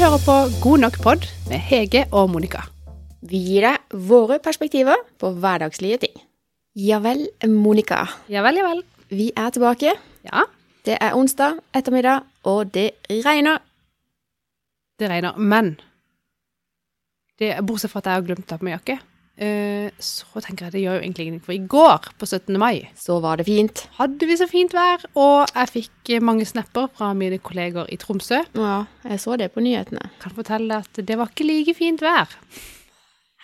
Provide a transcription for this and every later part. hører på God nok pod med Hege og Monica. Vi gir deg våre perspektiver på hverdagslige ting. Ja vel, Monica. Ja vel, ja vel. Vi er tilbake. Ja, Det er onsdag ettermiddag, og det regner. det regner, men det, Bortsett fra at jeg har glemt å ta på meg jakke, eh, så tenker jeg det gjør jo egentlig ingenting. For i går, på 17. mai, Så var det fint. hadde vi så fint vær, og jeg fikk eh, mange snapper fra mine kolleger i Tromsø. Ja, jeg så det på nyhetene. Kan fortelle deg at det var ikke like fint vær.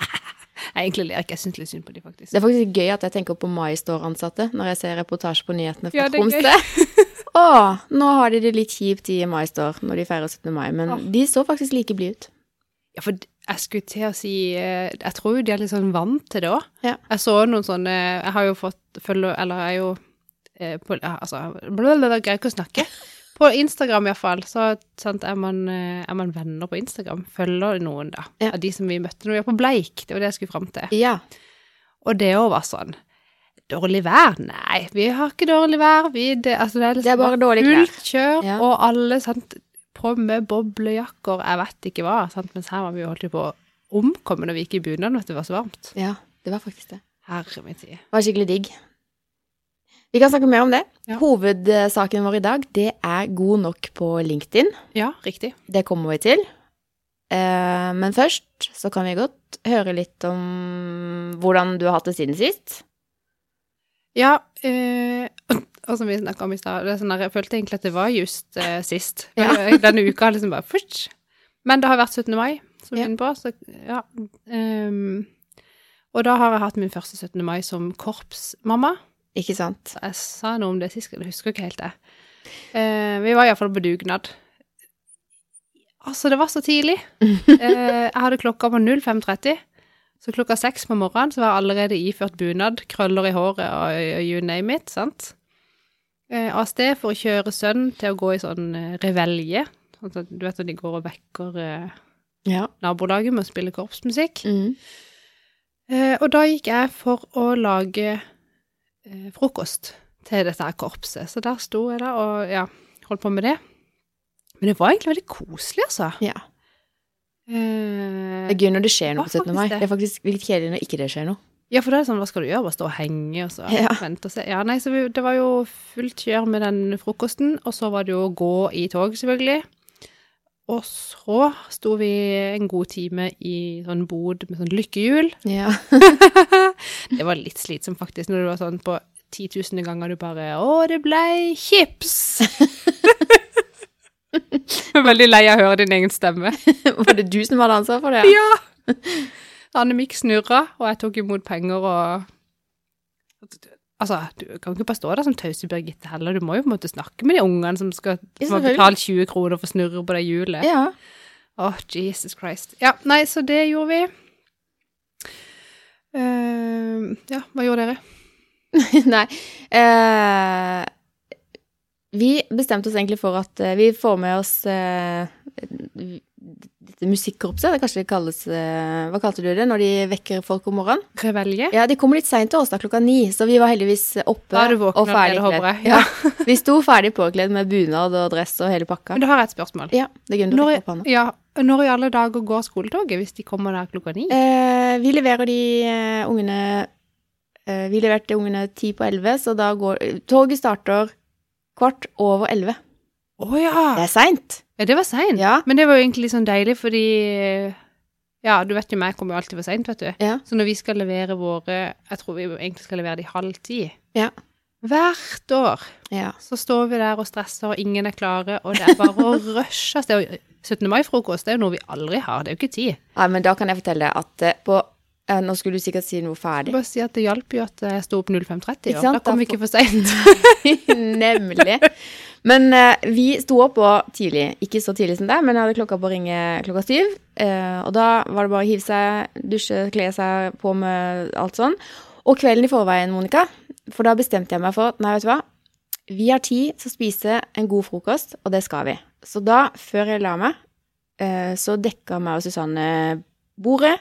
Jeg egentlig ler ikke, jeg syns litt synd på de, faktisk. Det er faktisk gøy at jeg tenker på mai står ansatte når jeg ser reportasje på nyhetene fra Ja, det er Tromsø. Å, nå har de det litt kjipt i mai står når de feirer 17. mai, men Åh. de så faktisk like blide ut. Ja, for jeg skulle til å si eh, Jeg tror jo de er litt sånn vant til det òg. Ja. Jeg så noen sånne Jeg har jo fått følge Eller jeg er jo eh, på, ja, Altså, blablabla, jeg greier ikke å snakke. På Instagram iallfall, så sant, er, man, eh, er man venner på Instagram. Følger noen, da. Ja. Av de som vi møtte når vi var på Bleik. Det var det jeg skulle fram til. Ja. Og det òg var sånn. Dårlig vær? Nei, vi har ikke dårlig vær. Vi, det, altså, det, er liksom Det er bare dårlig klær. fullt kjør, Ja. og alle sant, på med boblejakker, jeg vet ikke hva. Sant? Mens her var vi jo holdt jo på å omkomme når vi gikk i bunad, vet du, det var så varmt. Ja, det var faktisk det. Herre min tid. Det var skikkelig digg. Vi kan snakke mer om det. Ja. Hovedsaken vår i dag, det er god nok på LinkedIn. Ja, riktig. Det kommer vi til. Eh, Men først så kan vi godt høre litt om hvordan du har hatt det siden sist. Ja, eh, og som vi snakka om i stad, det er sånn der, jeg følte egentlig at det var just eh, sist. Ja. Denne uka har liksom bare futsj. Men det har vært 17. mai, som du Ja. er inne på, så ja. ehm, og da har jeg hatt min første 17. mai som korpsmamma. Ikke sant? Jeg sa noe om det sist, jeg husker ikke helt det. Eh, vi var iallfall på dugnad. Altså, det var så tidlig. Eh, jeg hadde klokka på 05.30, så klokka seks på morgenen så var jeg allerede iført bunad, krøller i håret og, og you name it, sant? Eh, av sted for å kjøre sønnen til å gå i sånn eh, revelje. Sånn at du vet når de går og vekker eh, Ja. nabolaget med å spille korpsmusikk. Mm. Eh, og da gikk jeg for å lage eh, frokost til dette her korpset. Så der sto jeg da og ja, holdt på med det. Men det var egentlig veldig koselig, altså. ja. Eh, Det er gøy når det skjer noe Det på var 17. mai. faktisk det. Det er faktisk litt kjedelig når ikke det skjer noe. ja, for da er det sånn, hva skal du gjøre? Bare stå og henge og så Ja. vente og se. Ja, nei, så vi, det var jo fullt kjør med den frokosten, og så var det jo å gå i tog, selvfølgelig. Og så sto vi en god time i sånn bod med sånn lykkehjul. Ja. det var litt slitsomt faktisk når det var sånn på 10 000 ganger du bare Å, det ble chips! Jeg er Veldig lei av å høre din egen stemme. Var det du som hadde ansvar for det? Ja! Annemik snurra, og jeg tok imot penger og Altså, du kan ikke bare stå der som tause Birgitte heller, du må jo på en måte snakke med de ungene som skal Ja, som har selvfølgelig. betalt 20 kroner for å snurre på det hjulet. Ja. Åh, Jesus Christ. Ja, nei, så det gjorde vi. Eh, ja, hva gjorde dere? Nei. Eh, vi bestemte oss egentlig for at eh, vi får med oss eh, dette musikkorpset. Det kanskje det kalles eh, Hva kalte du det når de vekker folk om morgenen? Revelje? Ja, de kommer litt seint til oss da, klokka ni, så vi var heldigvis oppe Da er du våken og ferdig allerede, håper jeg. kledd. Ja. vi sto ferdig påkledd med bunad og dress og hele pakka. Men da har jeg et spørsmål. Ja, det er gøy å Når, rekke opp hånda. ja, når i alle dager går skoletoget hvis de kommer der klokka ni? Eh, vi leverer de eh, ungene eh, Vi leverte ungene ti på elleve, så da går Toget starter kvart over elleve. Å ja. Det er seint. ja! Det var seint. Ja. Men det var jo egentlig litt sånn deilig, fordi Ja, du vet jo meg, jeg kommer jo alltid for seint, vet du. Ja. Så når vi skal levere våre Jeg tror vi egentlig skal levere de halv ti. Ja. Hvert år ja. så står vi der og stresser, og ingen er klare, og det er bare å rushe av sted. Og 17. mai-frokost det er jo noe vi aldri har, det er jo ikke tid. Nei, men da kan jeg fortelle deg at eh, på eh, Nå skulle du sikkert si noe ferdig. Bare si at det hjalp jo at jeg sto opp 05.30, Ikke og sant? da kom vi Da ikke for seint. Nemlig. Men eh, vi sto opp på tidlig. Ikke så tidlig som deg, men jeg hadde klokka på å ringe klokka syv. Eh, og da var det bare å hive seg, dusje, kle seg på med alt sånn. Og kvelden i forveien, Monica, for da bestemte jeg meg for at nei, vet du hva. Vi har tid til å spise en god frokost, og det skal vi. Så da, før jeg la meg, eh, så dekka meg og Susanne bordet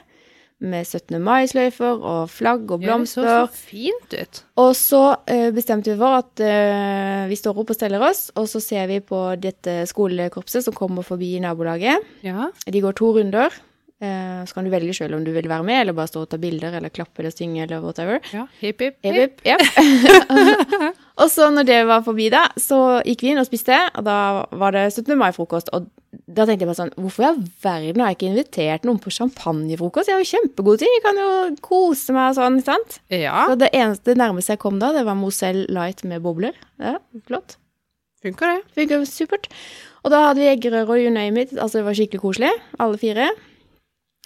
med 17. mai-sløyfer og flagg og Ja, det så blomster. så fint ut. Og så eh, bestemte vi for at eh, vi står opp og steller oss, og så ser vi på dette skolekorpset som kommer forbi nabolaget. Ja. De går to runder. eh, så kan du velge sjøl om du vil være med, eller bare stå og ta bilder, eller klappe eller synge, eller whatever. ja. Hipp, hipp, Jep, hipp. jep, jep. og så når det var forbi da, så gikk vi inn og spiste, og da var det 17. mai-frokost. Og da tenkte jeg bare sånn, hvorfor i all verden har jeg ikke invitert noen på champagnefrokost? Jeg har jo kjempegode ting, jeg kan jo kose meg og sånn, ikke sant? Ja, Så det eneste nærmeste jeg kom da, det var Moselle Light med bobler. Ja, flott. funker det. Funker supert. Og da hadde vi eggerøre og you name it, altså det var skikkelig koselig, alle fire.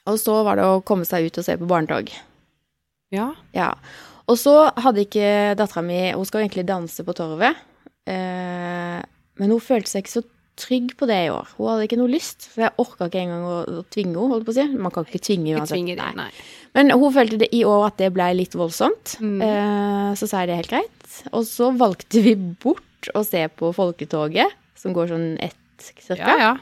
Og så var det å komme seg ut og se på barnetog. Ja. Ja. Og så hadde ikke dattera mi Hun skal jo egentlig danse på torvet. Eh, men hun følte seg ikke så trygg på det i år. Hun hadde ikke noe lyst. For jeg orka ikke engang å, å tvinge henne, holdt på å si. Man kan ikke tvinge Jeg uansett. tvinger det. Nei. Nei. Men hun følte det i år at det blei litt voldsomt. Mm. Eh, så sa jeg det er helt greit. Og så valgte vi bort å se på folketoget, som går sånn ett cirka. Ja, ja.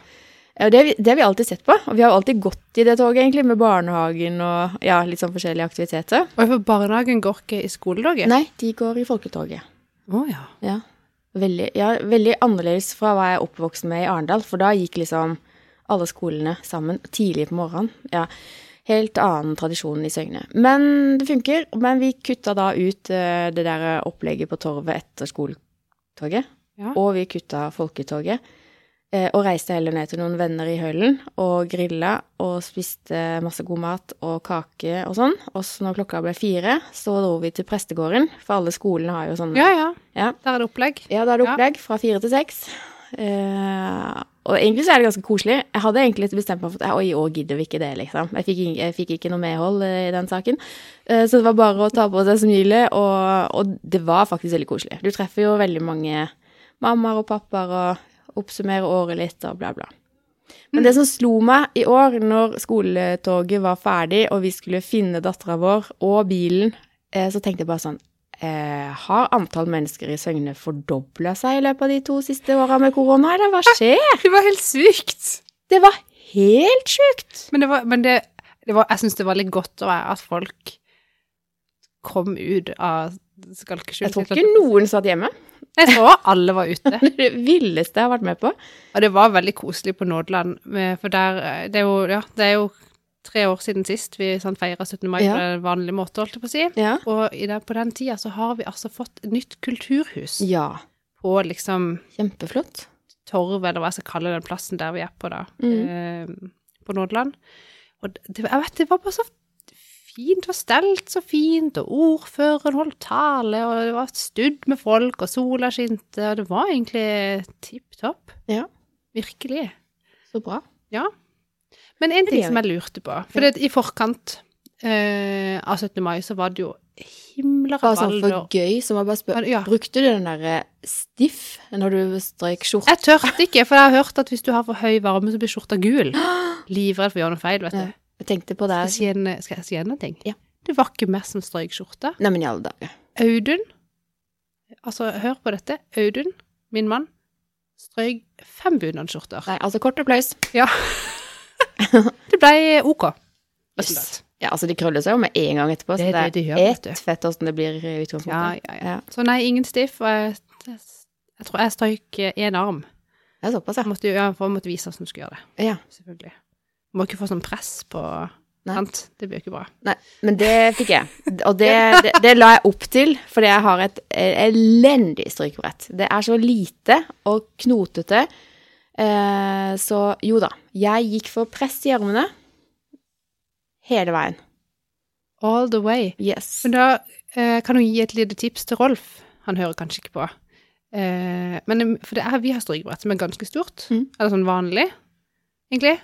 Ja, det, har vi- det har vi alltid sett på. Og vi har alltid gått i det toget, egentlig, med barnehagen og ja, litt sånn forskjellige aktiviteter. Og for barnehagen går ikke i skoledagen? Nei, de går i folketoget. Å ja. Ja. Veldig, ja, veldig annerledes fra hva jeg er oppvokst med i Arendal, for da gikk liksom alle skolene sammen tidlig på morgenen. Ja, helt annen tradisjon i Søgne. Men det funker. Men vi kutta da ut eh, det der opplegget på torvet etter skoletoget, Ja. og vi kutta folketoget. eh, Og reiste heller ned til noen venner i Hølen og grilla og spiste masse god mat og kake og sånn. Og så når klokka ble fire, så dro vi til prestegården, for alle skolene har jo sånn Ja, ja. Ja. Der er det opplegg. ja, da er det Ja. opplegg fra fire til seks. Eh, og egentlig så er det ganske koselig. Jeg hadde egentlig bestemt meg for at oi, i år gidder vi ikke det, liksom. Jeg fikk, ing- jeg fikk ikke noe medhold eh, i den saken. Eh, så det var bare å ta på seg smilet, og, og det var faktisk veldig koselig. Du treffer jo veldig mange mammaer og pappaer og oppsummerer året litt og bla, bla. Men det som slo meg i år, når skoletoget var ferdig, og vi skulle finne dattera vår og bilen, eh, så tenkte jeg bare sånn eh, Har antall mennesker i Søgne fordobla seg i løpet av de to siste åra med korona, eller hva skjer? Det var helt sykt! Det var helt sjukt! Men, det var, men det, det var, jeg syns det var litt godt å være at folk kom ut av skalkeskjul. Jeg tror ikke noen satt hjemme. Jeg tror alle var ute. Det villeste jeg har vært med på. Og det var veldig koselig på Nådeland, med- for der eh, Det er jo, ja, det er jo tre år siden sist vi sånn, feira 17. mai Ja. på en vanlig måte, holdt jeg på å si. Ja. Og i den, på den tida så har vi altså fått et nytt kulturhus ja. på liksom Kjempeflott. torv, eller hva jeg skal kalle den plassen der vi er på, da, Mm. eh, på Nordland. Og det, jeg vet, det var bare så fint og stelt så fint, og ordføreren holdt tale, og det var studd med folk, og sola skinte, og det var egentlig tipp topp. Ja. Virkelig. Så bra. Ja. Men en ting Det er som jeg lurte på, for det, i forkant eh, av 17. mai så var det jo himler Bare av sånn for gøy, så må jeg bare spørre Ja. Brukte du den derre stiff når du strøyk skjorte? Jeg tørte ikke, for jeg har hørt at hvis du har for høy varme, så blir skjorta gul. Livredd for å gjøre noe feil, vet du. Ja. Jeg tenkte på det. Skal jeg si en, skal jeg si en ting? Ja. Det var ikke meg som strøyk skjorta. Nei, men i alle dager. Audun, altså hør på dette, Audun, min mann, strøyk fem bunadsskjorter. Nei, altså kort applaus. Ja. det ble ok. Yes. resultat. Ja, altså de krøller seg jo med en gang etterpå, Det så er det det de gjør, er vet ett du. fett åssen det blir i utgangspunktet. Ja, ja, ja. Ja. Så nei, ingen stiff. Og jeg, jeg, jeg tror jeg strøyk én arm. Det er såpass, Jeg måtte, jo- ja, for jeg måtte vise hvordan du skulle gjøre det, ja. ja. selvfølgelig. Må ikke få sånn press på Nei. sant? Det blir jo ikke bra. Nei, men det fikk jeg. Og det, det, det la jeg opp til, fordi jeg har et elendig strykebrett. Det er så lite og knotete. Eh, så jo da, jeg gikk for press i armene hele veien. All the way. Yes. Men da eh, kan du gi et lite tips til Rolf. Han hører kanskje ikke på. Eh, men for det er, vi har strykebrett som er ganske stort. Mm. Eller sånn vanlig, egentlig.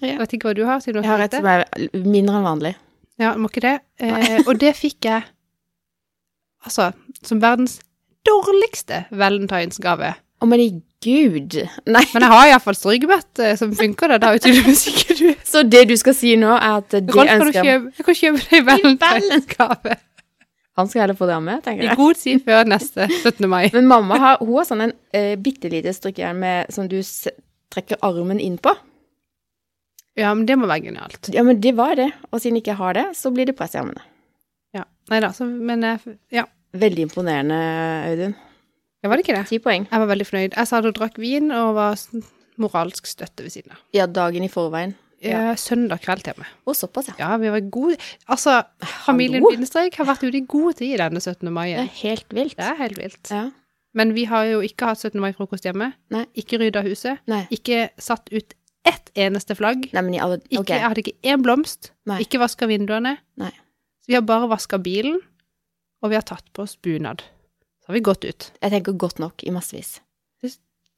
Ja. Jeg vet ikke hva du har. Siden du Jeg har har sagt det. et som er mindre enn vanlig. Ja, må ikke det. Eh, og det fikk jeg altså som verdens dårligste valentinsgave. Å, men i gud! Nei. Men jeg har iallfall strykebrett eh, som funker, da. Da er jo hvis ikke du Så det du skal si nå, er at det Rolf, kan du ønsker jeg- kjøpe, jeg kan kjøpe deg valentinsgave Han skal heller få det av meg, tenker jeg. i god tid før neste 17. mai. Men mamma har, hun har sånn en uh, bitte lite strikkejern med, som du s trekker armen inn på. Ja, men det må være genialt. Ja, men det var det. Og siden jeg ikke har det, så blir det press i armene. Ja. Nei da, så Men jeg- ja. Veldig imponerende, Audun. Det var det ikke det. Ti poeng. Jeg var veldig fornøyd. Jeg satt og drakk vin og var sånn moralsk støtte ved siden av. Ja, dagen i forveien. Eh, Søndag kveld til og med. Og såpass, ja. Ja, vi var gode Altså, familien Hallo? Bindestrek har vært ute i god tid denne 17. mai. Det er helt vilt. Det er helt vilt. Ja. Men vi har jo ikke hatt 17. mai-frokost hjemme. Nei. Ikke rydda huset. Nei. Ikke satt ut ett eneste flagg. Nei, men i alle Ikke, Ok. Jeg hadde ikke én blomst. Nei. Ikke vaska vinduene. Nei. Så vi har bare vaska bilen, og vi har tatt på oss bunad. Så har vi gått ut. Jeg tenker godt nok i massevis.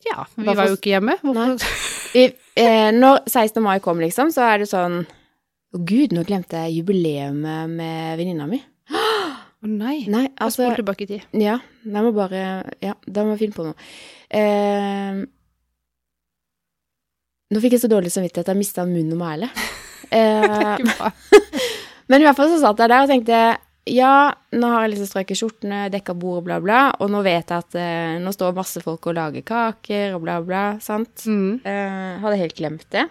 Ja, vi Hvorfor- var jo ikke hjemme. Nei. Hvorfor? I, eh, når 16. mai kom, liksom, så er det sånn Å, gud, nå glemte jeg jubileet med venninna mi. Å nei. Nei, Jeg altså spol tilbake i tid. Ja, jeg må bare Ja, da må jeg finne på noe. Eh, nå fikk jeg så dårlig samvittighet at jeg mista munn og mæle. Eh, Ikke bra. men i hvert fall så satt jeg der og tenkte ja, nå har jeg liksom strøket skjortene, dekka bordet, bla, bla. Og nå vet jeg at eh, nå står masse folk og lager kaker og bla, bla. Sant? Mm. Eh, hadde helt glemt det.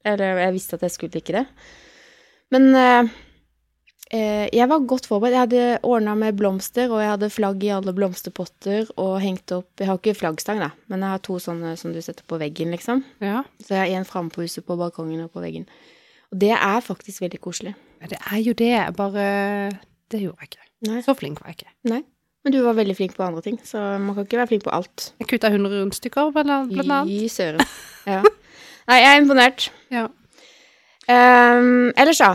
Eller jeg visste at jeg skulle ikke det. Men eh, eh, jeg var godt forberedt. Jeg hadde ordna med blomster, og jeg hadde flagg i alle blomsterpotter og hengt opp Jeg har ikke flaggstang, da, men jeg har to sånne som du setter på veggen, liksom. Ja. Så jeg har en framme på huset, på balkongen og på veggen. Og det er faktisk veldig koselig. Ja, Det er jo det, bare Det gjorde jeg ikke. Nei. Så flink var jeg ikke. Nei. Men du var veldig flink på andre ting, så man kan ikke være flink på alt. Jeg kutta 100 rundstykker, blant annet- blant annet. Fy søren. Ja. Nei, jeg er imponert. Ja. Ehm, ellers, da.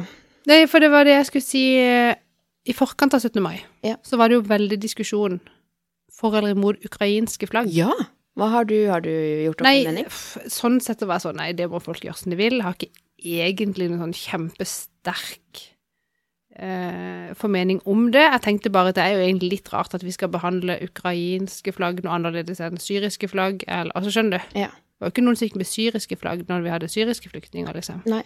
Nei, for det var det jeg skulle si eh, I forkant av 17. mai Ja. så var det jo veldig diskusjon for eller imot ukrainske flagg. Ja. Hva har du, har du gjort opp Nei, en mening? f- sånn sett å være sånn Nei, det må folk gjøre som de vil. Jeg har ikke egentlig noen sånn kjempesterk eh, formening om det. Jeg tenkte bare at det er jo egentlig litt rart at vi skal behandle ukrainske flagg noe annerledes enn syriske flagg. Eller, altså, skjønner du? Ja. Det var jo ikke noen sikt med syriske flagg når vi hadde syriske flyktninger, liksom. Nei.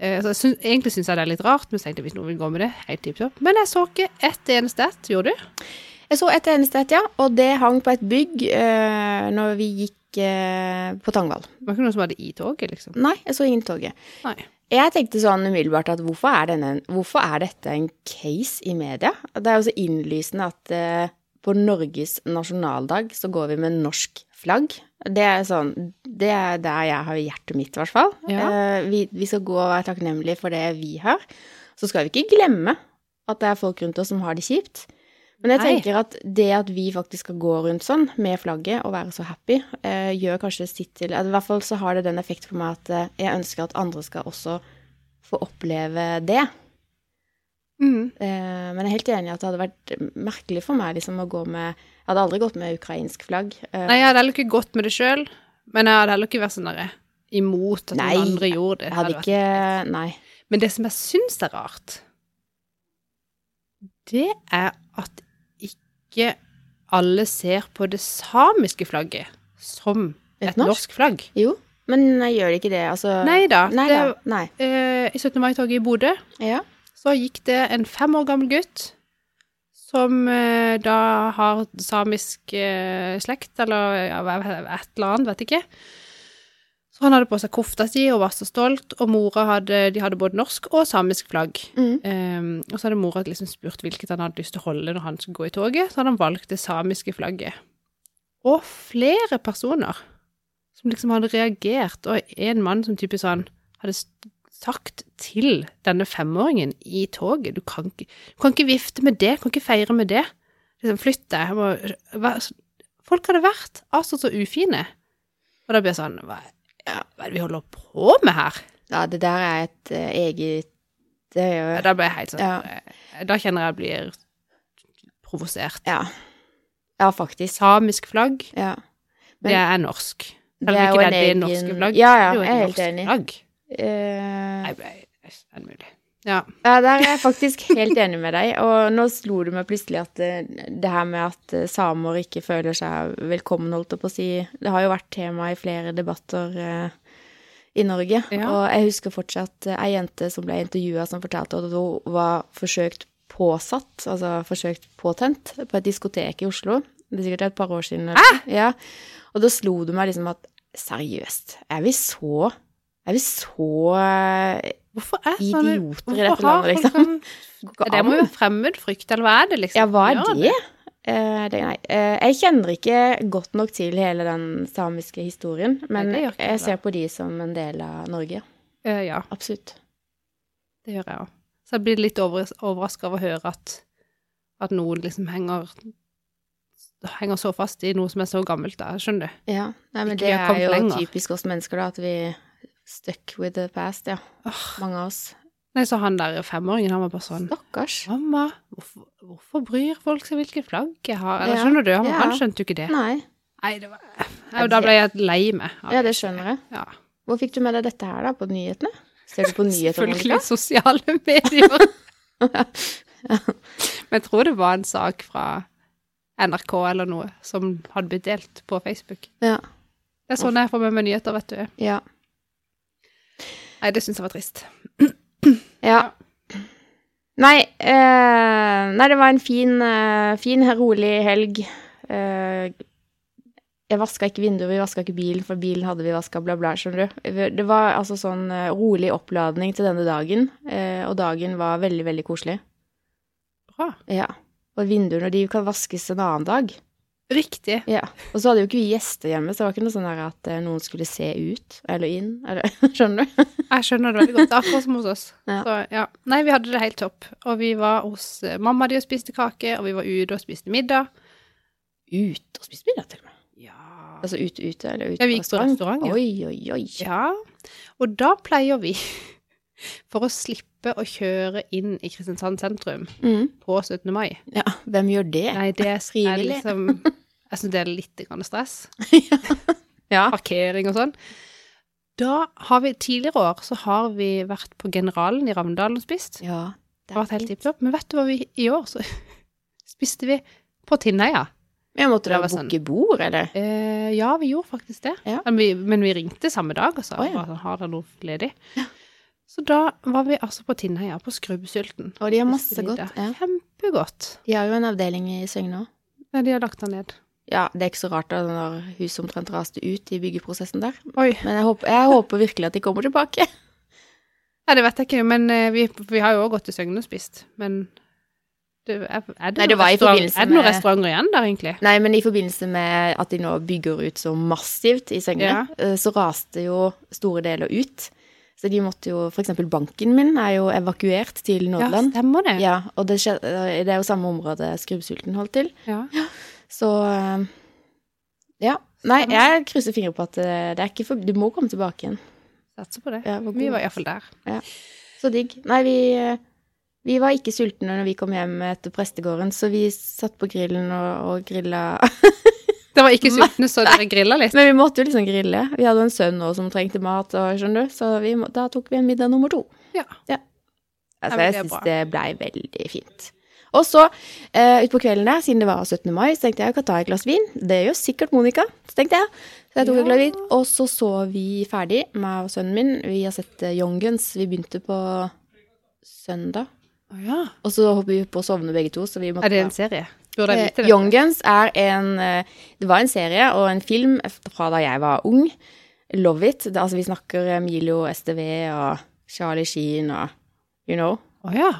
Eh, så jeg syns- egentlig syns jeg det er litt rart, men så tenkte jeg hvis noen vil gå med det, helt tipp topp. Men jeg så ikke ett eneste ett, gjorde du? Jeg så et eneste et, ja. Og det hang på et bygg eh, når vi gikk eh, på Tangvall. Det var ikke noen som hadde i toget, liksom. Nei, jeg så ingen toget. Nei. Jeg tenkte sånn umiddelbart at hvorfor er, denne, hvorfor er dette en case i media? Det er jo så innlysende at eh, på Norges nasjonaldag så går vi med norsk flagg. Det er sånn, det er der jeg har hjertet mitt, i hvert fall. Ja. Eh, vi, vi skal gå og være takknemlige for det vi har. Så skal vi ikke glemme at det er folk rundt oss som har det kjipt. Men jeg Nei. tenker at det at vi faktisk skal gå rundt sånn med flagget og være så happy, eh, gjør kanskje sitt til at I hvert fall så har det den effekten på meg at eh, jeg ønsker at andre skal også få oppleve det. Mm. Eh, men jeg er helt enig i at det hadde vært merkelig for meg liksom å gå med Jeg hadde aldri gått med ukrainsk flagg. Eh, Nei, jeg hadde heller ikke gått med det sjøl, men jeg hadde heller ikke vært sånn derre imot at Nei, noen andre gjorde det. jeg Det hadde hadde vært- ikke Nei. Men det som jeg syns er rart, det er at ikke alle ser på det samiske flagget som Et et, norsk? norsk? flagg. Jo, men jeg gjør ikke det. Altså Nei da. Nei. det, Da. nei. eh, I 17. mai-toget i Bodø Ja. så gikk det en fem år gammel gutt som eh, da har samisk eh, slekt, eller ja, hva- hva- et eller annet, vet ikke. Så han hadde på seg kofta si og var så stolt, og mora hadde, de hadde både norsk og samisk flagg. Mm. Ehm, og så hadde mora liksom spurt hvilket han hadde lyst til å holde når han skulle gå i toget, så hadde han valgt det samiske flagget. Og flere personer som liksom hadde reagert, og en mann som typisk sånn hadde s- sagt til denne femåringen i toget du kan, ikke, du kan ikke vifte med det, du kan ikke feire med det. Liksom, flytt deg. jeg må- hva- Folk hadde vært altså så ufine. Og da blir jeg sånn hva, ja, hva er det vi holder på med her? ja, det der er et eh, eget Det er jo Ja, Da ble jeg helt sånn Ja. eh, Da kjenner jeg jeg blir provosert. Ja. Ja, faktisk. Samisk flagg, Ja. Men- det er norsk. Selv Det om er ikke jo det en er det egen- norske flagg, Ja, ja, det er jo jeg er et helt norsk enig. flagg. Nei, Eh, nei, nei, det er mulig. Ja. Ja, der er jeg faktisk helt enig med deg. Og nå slo det meg plutselig at eh, det her med at eh, samer ikke føler seg velkommen, holdt jeg på å si, det har jo vært tema i flere debatter eh, i Norge. Ja. Og jeg husker fortsatt eh, ei jente som ble intervjua, som fortalte at hun var forsøkt påsatt, altså forsøkt påtent, på et diskotek i Oslo. Det er sikkert et par år siden. eller- Ja. Og da slo det meg liksom at seriøst, er vi så Er vi så eh, Hvorfor er sånne idioter i dette Hvorfor har folk landet, liksom? sånn Går ikke Er det an. må jo være fremmedfrykt, eller hva er det, liksom? Ja, hva er Gjør det? Eh, det nei. eh, jeg kjenner ikke godt nok til hele den samiske historien, men Nei, det gjør ikke jeg jeg ser på de som en del av Norge. Eh, ja, Absolutt. det gjør jeg òg. Så jeg blir litt over, overraska over å høre at, at noen liksom henger Henger så fast i noe som er så gammelt, da. Skjønner du? Ja, nei, men Ikke det vi har er kommet jo lenger. typisk oss mennesker, da, at vi stuck with the past, ja. Mange av oss. Nei, så han der femåringen, han var bare sånn Stakkars. Mamma, hvorfor, hvorfor bryr folk seg hvilke flagg jeg har? Eller Ja, skjønner du? Han, ja. han skjønte jo ikke det. Nei. Nei, det var Nei, og Da ble jeg lei meg. av Ja, det skjønner jeg. Ja. Hvor fikk du med deg dette her, da? På nyhetene? Ser du på nyheter, Selvfølgelig Monica? sosiale medier. Men jeg tror det var en sak fra NRK eller noe som hadde blitt delt på Facebook. Ja. Det er sånn jeg får med meg nyheter, vet du. Ja. Nei, det syns jeg var trist. ja. Nei, eh, nei, det var en fin, eh, fin rolig helg. Eh, jeg vaska ikke vinduet, vi vaska ikke bilen, for bilen hadde vi vaska, bla, bla, skjønner du. Det var altså sånn eh, rolig oppladning til denne dagen, eh, og dagen var veldig, veldig koselig. Bra. Ja. Og vinduene de kan vaskes en annen dag. Riktig. Ja. Og så hadde jo ikke vi gjester hjemme, så det var ikke noe sånn der at eh, noen skulle se ut eller inn, eller skjønner du? Jeg skjønner det veldig godt. Det er akkurat som hos oss. Ja. Så, ja. Nei, vi hadde det helt topp. Og vi var hos eh, mamma di og spiste kake, og vi var ute og spiste middag. Ute og spise middag, til og med. Ja. Altså ute, ute, eller ute Ja, vi gikk på restaurant, ja. Oi, oi, oi. Ja, og da pleier vi, for å slippe å kjøre inn i Kristiansand sentrum Mm. på 17. mai Ja, hvem gjør det? Nei, det er Frivillig. liksom Jeg syns det er litt grann stress. Ja. Parkering og sånn. Da har vi Tidligere år så har vi vært på Generalen i Ravndal og spist. ja. Det har vært helt tipp topp. Men vet du hva vi i år så spiste vi? På Tinnheia. Jeg måtte Det da var sånn- booke bord, eller? Eh, ja, vi gjorde faktisk det. Ja. Men, vi, men vi ringte samme dag og sa Å, ja. bare sånn, har dere noe ledig. Så da var vi altså på Tinnheia, på skrubbsulten. Og de Spiste har masse godt. middag. Ja. Kjempegodt. De har jo en avdeling i Søgne òg. Nei, de har lagt den ned. Ja, det er ikke så rart da når huset omtrent raste ut i byggeprosessen der. Oi. Men jeg håper, jeg håper virkelig at de kommer tilbake. Ja, det vet jeg ikke, men eh, vi, vi har jo òg gått til Søgne og spist. Men det, er, er det, Nei, det noen var i restaurant- forbindelse er det noen med- restauranter igjen der, egentlig? Nei, men i forbindelse med at de nå bygger ut så massivt i Søgne, Ja. eh, så raste jo store deler ut. Så de måtte jo For eksempel banken min er jo evakuert til Nordland. Ja, stemmer det. Ja, og det, skje- eh, det er jo samme område Skrubbsulten holdt til. Ja. Så eh, ja. Nei, jeg krysser fingre på at eh, det er ikke for Du må komme tilbake igjen. Satser på det. Ja, hvor god vi var mat. iallfall der. Så digg. Nei, vi, eh, vi var ikke sultne når vi kom hjem etter prestegården, så vi satt på grillen og, og grilla Det var ikke sultne, så dere grilla litt. Men vi måtte jo liksom grille. Vi hadde jo en sønn nå som trengte mat, og, skjønner du, så vi må, da tok vi en middag nummer to. Ja. Altså, men jeg det er syns bra. det blei veldig fint. Og så, eh, utpå kvelden der, siden det var 17. mai, så tenkte jeg jeg kan ta et glass vin. Det gjør sikkert Monica, så tenkte jeg. Så jeg tok Ja. et glass vin, og så så vi ferdig, meg og sønnen min. Vi har sett eh, Young Guns. Vi begynte på søndag. Å ja. Og så hopper vi på å sovne begge to, så vi måtte Er det da- en serie? Burde jeg vite Eh, det? Young Guns er en eh, Det var en serie og en film fra da jeg var ung. Love It. Det, altså, vi snakker Milo STV og Charlie Sheen og you know. Å ja.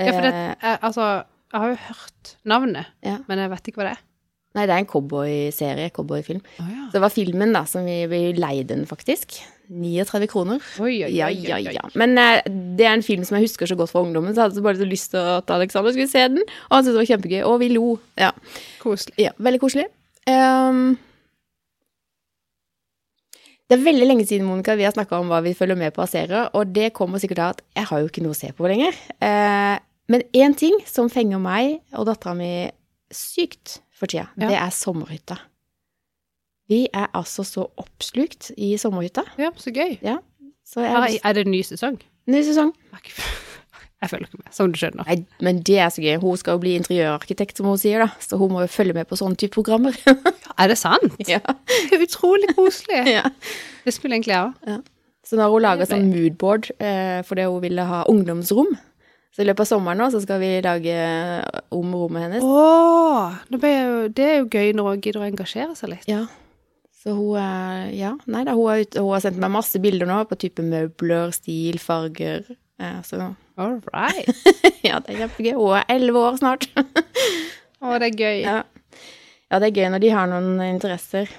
Ja, for det, Eh, jeg, altså, jeg har jo hørt navnet, Ja. men jeg vet ikke hva det er. Nei, det er en cowboyserie, cowboyfilm. Å ja. Så det var filmen da som vi ble leid den, faktisk. 39 kroner. Oi, oi, Ja, oi, ja, oi, ja. oi. Men eh, det er en film som jeg husker så godt fra ungdommen, så jeg hadde så bare så lyst til at Alexander skulle se den. Og han syntes det var kjempegøy. Og vi lo. Ja. Koselig. Ja, veldig koselig. Ehm, det er veldig lenge siden Monica, vi har snakka om hva vi følger med på av serier, og det kommer sikkert av at jeg har jo ikke noe å se på lenger. Eh, men én ting som fenger meg og dattera mi sykt for tida, Ja. det er sommerhytta. Vi er altså så oppslukt i sommerhytta. Ja, så gøy. Så jeg Her har er, lyst er det en ny sesong? Ny sesong. Jeg følger ikke med, som du skjønner. Nei, men det er så gøy. Hun skal jo bli interiørarkitekt, som hun sier, da. Så hun må jo følge med på sånne type programmer. Er det sant? ja. Det er utrolig koselig. ja. Det skulle egentlig jeg òg. Så nå har hun laga Det er sånn moodboard eh, fordi hun ville ha ungdomsrom. Så i løpet av sommeren nå så skal vi lage eh, om rommet hennes. Åh, nå ble jeg jo- det er jo gøy når hun gidder å engasjere seg litt. Ja. Så hun eh, Ja, nei da, hun har, ut, hun har sendt meg masse bilder nå på type møbler, stil, farger. eh, Så All right. ja, det er kjempegøy. Hun er elleve år snart. Å, det er gøy. Ja. ja, det er gøy når de har noen interesser.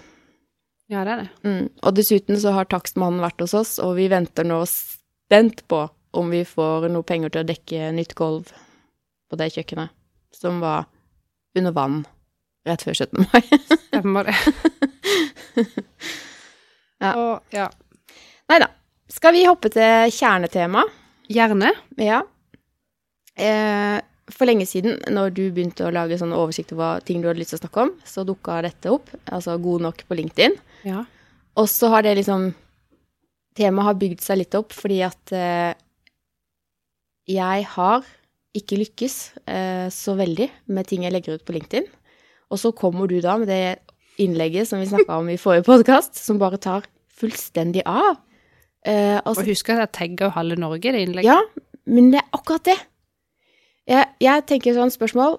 Ja, det er det. Mm. Og dessuten så har takstmannen vært hos oss, og vi venter nå spent på om vi får noe penger til å dekke nytt gulv på det kjøkkenet, som var under vann rett før 17. mai. Stemmer det. Ja. Og, ja. Nei da. Skal vi hoppe til kjernetema? Gjerne. Ja. Eh, for lenge siden, når du begynte å lage sånn oversikt over hva- ting du hadde lyst til å snakke om, så dukka dette opp, altså God nok på LinkedIn. Ja. Og så har det liksom Temaet har bygd seg litt opp fordi at eh, jeg har ikke lykkes eh, så veldig med ting jeg legger ut på LinkedIn. Og så kommer du da med det innlegget som vi snakka om i forrige podkast, som bare tar fullstendig av. Eh, og så Og husk at jeg tagga jo halve Norge i det innlegget. ja, men det er akkurat det. Jeg, jeg tenker sånn spørsmål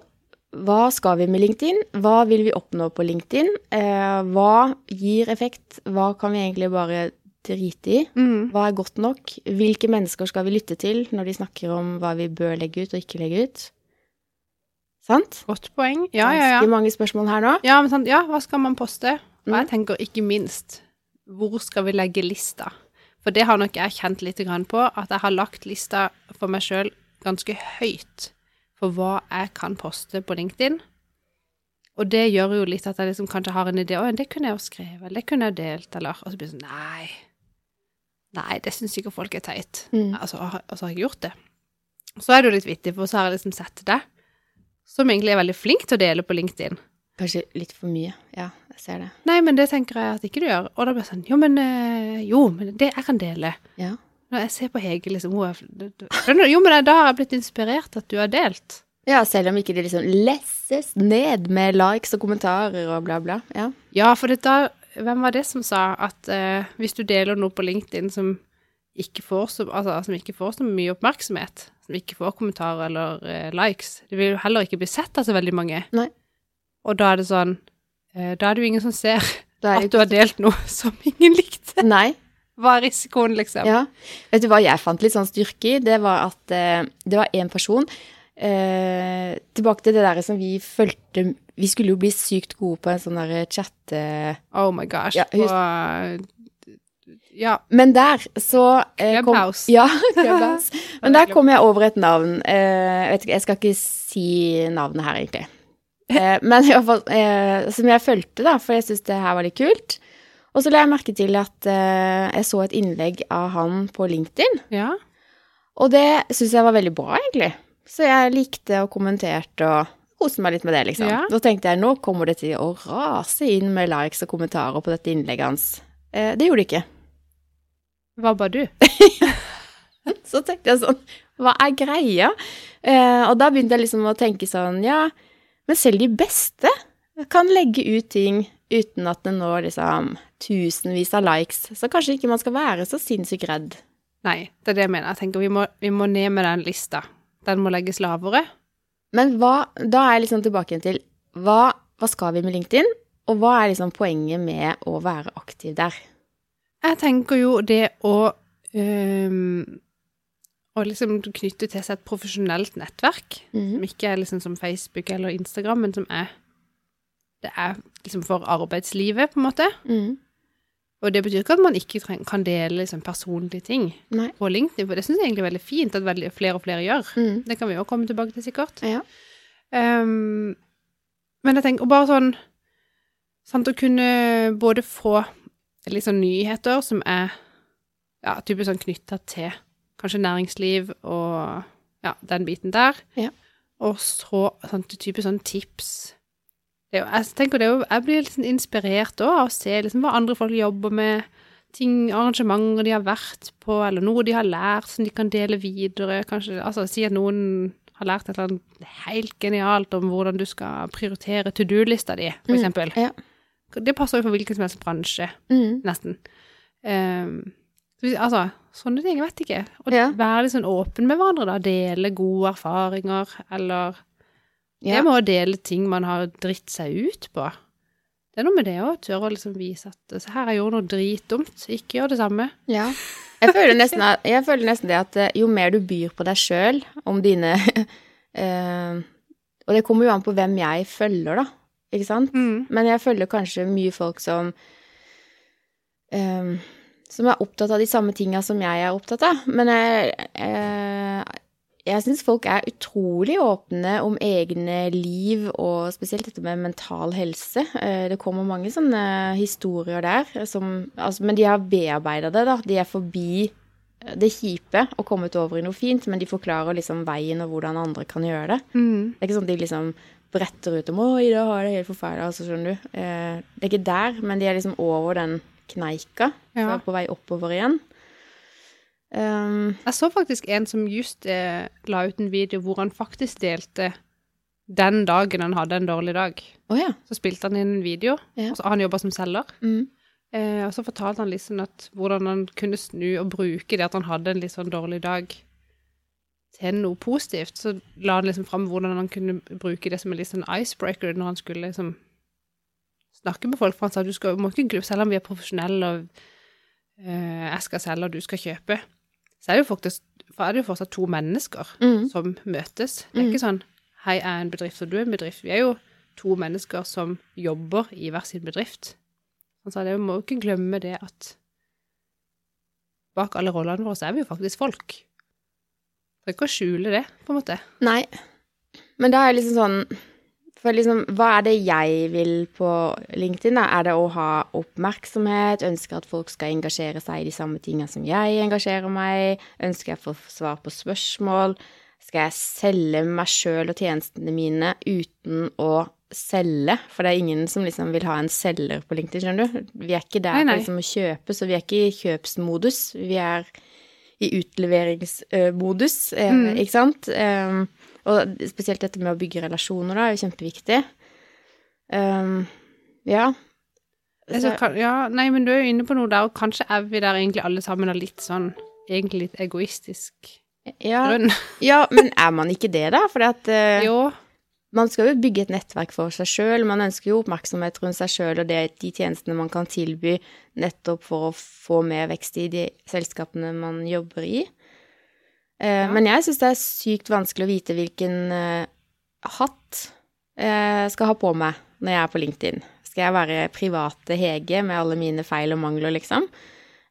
Hva skal vi med LinkedIn? Hva vil vi oppnå på LinkedIn? Eh, hva gir effekt? Hva kan vi egentlig bare drite i? Mm. Hva er godt nok? Hvilke mennesker skal vi lytte til når de snakker om hva vi bør legge ut og ikke legge ut? Sant? Godt poeng. Ja, ja, ja. Ganske mange spørsmål her nå. Ja, men sant, ja, hva skal man poste? Og jeg Mm. tenker ikke minst, hvor skal vi legge lista? For det har nok jeg kjent litt grann på, at jeg har lagt lista for meg sjøl ganske høyt for hva jeg kan poste på LinkedIn. Og det gjør jo litt at jeg liksom kanskje har en idé Å, det kunne jeg jo skrevet, eller det kunne jeg delt, eller Og så blir det sånn Nei. Nei, det syns sikkert folk er teit. Mm. Altså, og har- og så har jeg gjort det. Så er det jo litt vittig, for så har jeg liksom sett det, som egentlig er veldig flink til å dele på LinkedIn. Kanskje litt for mye. Ja, jeg ser det. Nei, men det tenker jeg at ikke du gjør. Og da blir jeg sånn, jo, men, eh, jo, men det jeg kan dele. Ja. Når jeg ser på Hege, liksom, hun er det- det- Skjønner du? Jo, men da har jeg blitt inspirert at du har delt. ja, selv om ikke det liksom lesses ned med likes og kommentarer og bla, bla. Ja. Ja, for det da Hvem var det som sa at eh, hvis du deler noe på LinkedIn som ikke får så, altså, som ikke får så mye oppmerksomhet, som ikke får kommentarer eller eh, likes Det vil jo heller ikke bli sett av så veldig mange. Nei. Og da er det sånn eh, Da er det jo ingen som ser Da er at det du har delt noe som ingen likte. ikke Nei. Hva er risikoen, liksom? Ja. Vet du hva jeg fant litt sånn styrke i? Det var at eh, det var én person eh, Tilbake til det der som vi følte Vi skulle jo bli sykt gode på en sånn derre chatte... Oh my gosh. Ja, husk- Og Ja. Men der så eh, kom- Clubhouse. Ja, Clubhouse. Men der kom jeg over et navn. Eh, vet ikke, jeg skal ikke si navnet her, egentlig. Eh, men i hvert fall eh, som jeg fulgte, da, for jeg syntes det her var litt kult. Og så la jeg merke til at eh, jeg så et innlegg av han på LinkedIn. ja. Og det syns jeg var veldig bra, egentlig. Så jeg likte og kommenterte og koste meg litt med det, liksom. Ja. Da tenkte jeg nå kommer det til å rase inn med likes og kommentarer på dette innlegget hans. Eh, det gjorde det ikke. Hva ba du? Så tenkte jeg sånn, hva er greia? Eh, og da begynte jeg liksom å tenke sånn, ja, men selv de beste kan legge ut ting uten at det når liksom tusenvis av likes. Så kanskje ikke man skal være så sinnssykt redd. Nei, det er det jeg mener. Jeg tenker vi må, vi må ned med den lista. Den må legges lavere. Men hva, da er jeg liksom tilbake igjen til, hva, hva skal vi med LinkedIn? Og hva er liksom poenget med å være aktiv der? Jeg tenker jo det å øhm, Å liksom knytte til seg et profesjonelt nettverk, Mm-hmm. som ikke er liksom som Facebook eller Instagram, men som er Det er liksom for arbeidslivet, på en måte. Mhm. Og det betyr ikke at man ikke treng, kan dele liksom personlige ting Nei. på LinkedIn, for det syns jeg egentlig er veldig fint at veldig, flere og flere gjør. Mhm. Det kan vi jo komme tilbake til, sikkert. Ja. Ehm, men jeg tenker og bare sånn sant, Å kunne både få litt sånn nyheter som er ja, typisk sånn knytta til kanskje næringsliv og ja, den biten der. Ja. Og så sånn, typisk sånn tips. Det er jo, jeg tenker det er jo, jeg blir litt sånn inspirert også av å se liksom, hva andre folk jobber med. Ting, arrangementer de har vært på, eller noe de har lært som de kan dele videre. Kanskje, altså Si at noen har lært et eller annet helt genialt om hvordan du skal prioritere to do-lista di, for Mm, eksempel. ja. Det passer jo for hvilken som helst bransje Mhm. nesten. Ehm, så hvis- altså, sånne ting, jeg vet ikke. Å Ja. være litt sånn åpen med hverandre, da. Dele gode erfaringer, eller Ja. Det med å dele ting man har dritt seg ut på. Det er noe med det òg, tørre å liksom vise at se her, jeg gjorde noe dritdumt, ikke gjør det samme. Ja. Jeg føler nesten, at, jeg føler nesten det at eh, jo mer du byr på deg sjøl om dine eh, Og det kommer jo an på hvem jeg følger, da. Ikke sant? Mm. Men jeg følger kanskje mye folk som eh, Som er opptatt av de samme tinga som jeg er opptatt av. Men jeg, eh, jeg syns folk er utrolig åpne om egne liv, og spesielt dette med mental helse. Eh, Det kommer mange sånne historier der, som, altså, men de har bearbeida det. da. De er forbi eh, det kjipe og kommet over i noe fint, men de forklarer liksom veien og hvordan andre kan gjøre det. Mm. Det er ikke sånn at de liksom bretter ut om 'oi, da har jeg det helt forferdelig', altså, skjønner du. Eh, det er ikke der, men de er liksom over den kneika, Ja. så er på vei oppover igjen. Um, Jeg så faktisk en som just eh, la ut en video hvor han faktisk delte den dagen han hadde en dårlig dag. å ja. Så spilte han inn en video, Ja. og så, han jobba som selger. Mm. Eh, og så fortalte han liksom at hvordan han kunne snu og bruke det at han hadde en litt sånn dårlig dag til noe positivt. Så la han liksom fram hvordan han kunne bruke det som en litt sånn icebreaker når han skulle liksom snakke med folk. For han sa at du skal, må ikke glemme, selv om vi er profesjonelle og eh, jeg skal selge og du skal kjøpe, så er det jo faktisk for er det jo fortsatt to mennesker Mm. som møtes. Det er Mm. ikke sånn hei, jeg er en bedrift og du er en bedrift. Vi er jo to mennesker som jobber i hver sin bedrift. Han sa det, vi må jo ikke glemme det at bak alle rollene våre så er vi jo faktisk folk. Trenger ikke å skjule det, på en måte. Nei. Men da er det liksom sånn For liksom, hva er det jeg vil på LinkedIn? da? Er det å ha oppmerksomhet? Ønsker at folk skal engasjere seg i de samme tinga som jeg engasjerer meg? Ønsker jeg å få svar på spørsmål? Skal jeg selge meg sjøl og tjenestene mine uten å selge? For det er ingen som liksom vil ha en selger på LinkedIn, skjønner du? Vi er ikke der Nei, nei. for liksom å kjøpe, så vi er ikke i kjøpsmodus. Vi er i utleveringsmodus, eh, Mm. ikke sant? Um, og spesielt dette med å bygge relasjoner da, er jo kjempeviktig. Um, ja. Altså, kan, ja, nei, men du er jo inne på noe der, og kanskje er vi der egentlig alle sammen av litt sånn, egentlig litt egoistisk ja, grunn. ja, men er man ikke det, da? For uh, Jo, man skal jo bygge et nettverk for seg sjøl. Man ønsker jo oppmerksomhet rundt seg sjøl og det, de tjenestene man kan tilby nettopp for å få mer vekst i de selskapene man jobber i. Eh, Men jeg syns det er sykt vanskelig å vite hvilken eh, hatt eh, skal ha på meg når jeg er på LinkedIn. Skal jeg være private Hege med alle mine feil og mangler, liksom?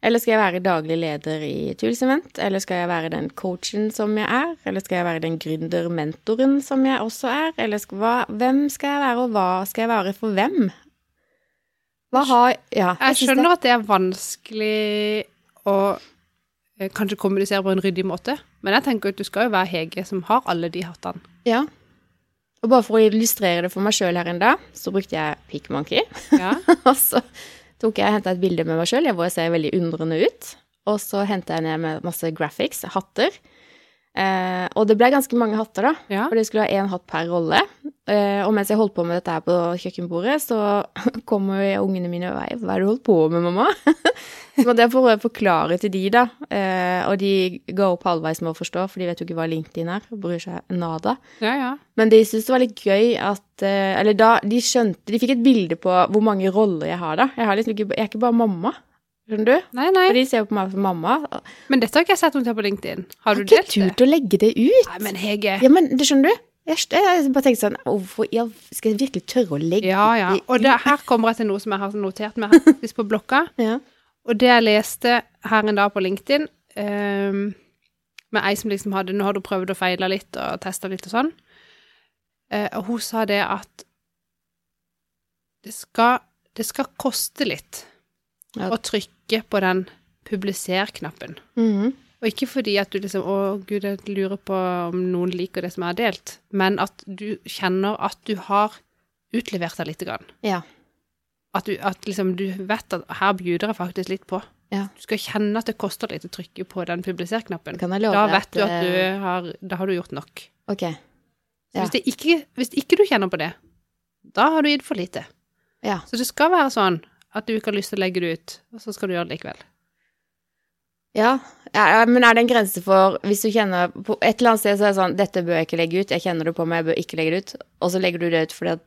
Eller skal jeg være daglig leder i Tools Event? Eller skal jeg være den coachen som jeg er? Eller skal jeg være den gründermentoren som jeg også er? Eller skal, hva, hvem skal jeg være, og hva skal jeg være for hvem? Hva har Ja. jeg synes det- skjønner at det er vanskelig å eh, kanskje kommunisere på en ryddig måte, men jeg tenker at du skal jo være Hege som har alle de hattene. Ja. Og bare for å illustrere det for meg sjøl her en dag, så brukte jeg Pickmonkey. Ja, Og så tok jeg henta et bilde med meg sjøl, hvor jeg ser veldig undrende ut. Og så henta jeg ned med masse graphics, hatter. Eh, og det ble ganske mange hatter, da. ja. For det skulle ha én hatt per rolle. Eh, og mens jeg holdt på med dette her på kjøkkenbordet, så kom jo ungene mine og vei. Hva er det du holdt på med, mamma? så måtte jeg prøve å forklare til de, da. Eh, og de ga opp halvveis med å forstå, for de vet jo ikke hva LinkedIn er. og Bryr seg nada. ja, ja. Men de syntes det var litt gøy at eh, Eller da de skjønte De fikk et bilde på hvor mange roller jeg har, da. Jeg, har liksom ikke, jeg er ikke bare mamma. Skjønner du? Nei, nei. For de ser jo på meg som mamma. Har Men dette har ikke jeg sett noe til på LinkedIn. Har du ikke delt det? turt å legge det ut. Nei, men Hege. Ja, men det skjønner du? Jeg, skj- jeg bare tenkte sånn Hvorfor i all- skal jeg virkelig tørre å legge Ja, ja. det Og det, her kommer jeg til noe som jeg har notert meg her faktisk på blokka. Ja. Og det jeg leste her en dag på LinkedIn, ehm, med ei som liksom hadde Nå har du prøvd og feila litt og testa litt og sånn. Eh, og hun sa det at det skal, det skal koste litt Ja. å trykke på den publiser-knappen. Mhm. Og ikke fordi at du liksom Å, gud, jeg lurer på om noen liker det som jeg har delt, men at du kjenner at du har utlevert deg lite grann. ja. At du, at liksom, du vet at her bjuder jeg faktisk litt på. Ja. Du skal kjenne at det koster litt å trykke på den Det publiser-knappen. kan jeg love Da deg vet du at du eh, har, da har du gjort nok. Ok. Så Ja. Hvis, det ikke, hvis ikke du kjenner på det, da har du gitt for lite. Ja. Så det skal være sånn at du ikke har lyst til å legge det ut, og så skal du gjøre det likevel. Ja, ja, ja, men er det en grense for Hvis du kjenner på Et eller annet sted så er det sånn Dette bør jeg ikke legge ut. Jeg kjenner det på meg, jeg bør ikke legge det ut. Og så legger du det ut fordi at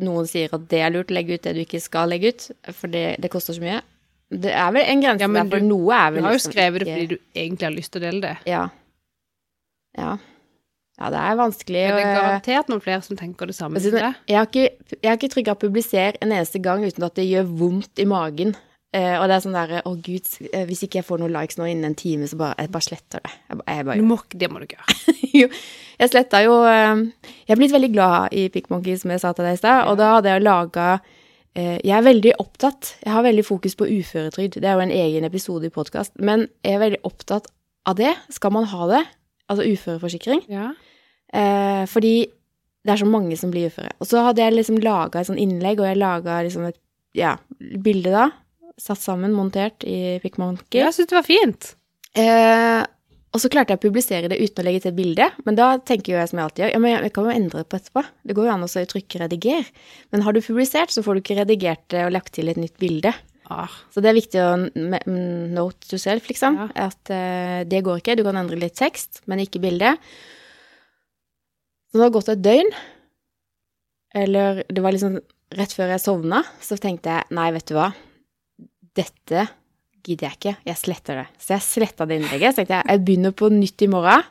noen sier at det er lurt, legg ut det du ikke skal legge ut, for det, det koster så mye. Det er vel en grense Ja, men der, for du- noe er Du vel har jo liksom skrevet det ikke- fordi du egentlig har lyst til å dele det. Ja. Ja. ja, det er vanskelig. eh, Men det er og- garantert noen flere som tenker det samme. Jeg synes- som deg. jeg har ikke, jeg har ikke trykka 'publiser' en eneste gang uten at det gjør vondt i magen. Eh, og det er sånn derre 'Å, gud, eh, hvis ikke jeg får noen likes nå innen en time, så bare Jeg bare sletter det. Jeg, bare- jeg bare Du må ikke- Det må du ikke gjøre. jo, jeg sletta jo eh, Jeg er blitt veldig glad i Pikkmonkey, som jeg sa til deg i stad. Og da hadde jeg laga Jeg er veldig opptatt. Jeg har veldig fokus på uføretrygd. Det er jo en egen episode i podkast. Men jeg er veldig opptatt av det. Skal man ha det? Altså uføreforsikring. Ja. Eh, fordi det er så mange som blir uføre. Og så hadde jeg liksom laga et sånt innlegg, og jeg laga liksom et ja, bilde da. Satt sammen, montert i Pikkmonkey. Jeg syns det var fint. Eh, og så klarte jeg å publisere det uten å legge til et bilde. Men da tenker jo jeg som jeg alltid gjør, ja, men jeg, jeg kan jo endre på etterpå. Det går jo an å så trykke 'rediger'. Men har du publisert, så får du ikke redigert det og lagt til et nytt bilde. Ah, Så det er viktig å n- me- m- note to self, liksom. At eh, det går ikke. Du kan endre litt tekst, men ikke bilde. Så det har gått et døgn. Eller det var liksom rett før jeg sovna, så tenkte jeg nei, vet du hva. Dette gidder jeg ikke. Jeg sletter det. Så jeg sletta det innlegget. Så tenkte jeg jeg begynner på nytt i morgen.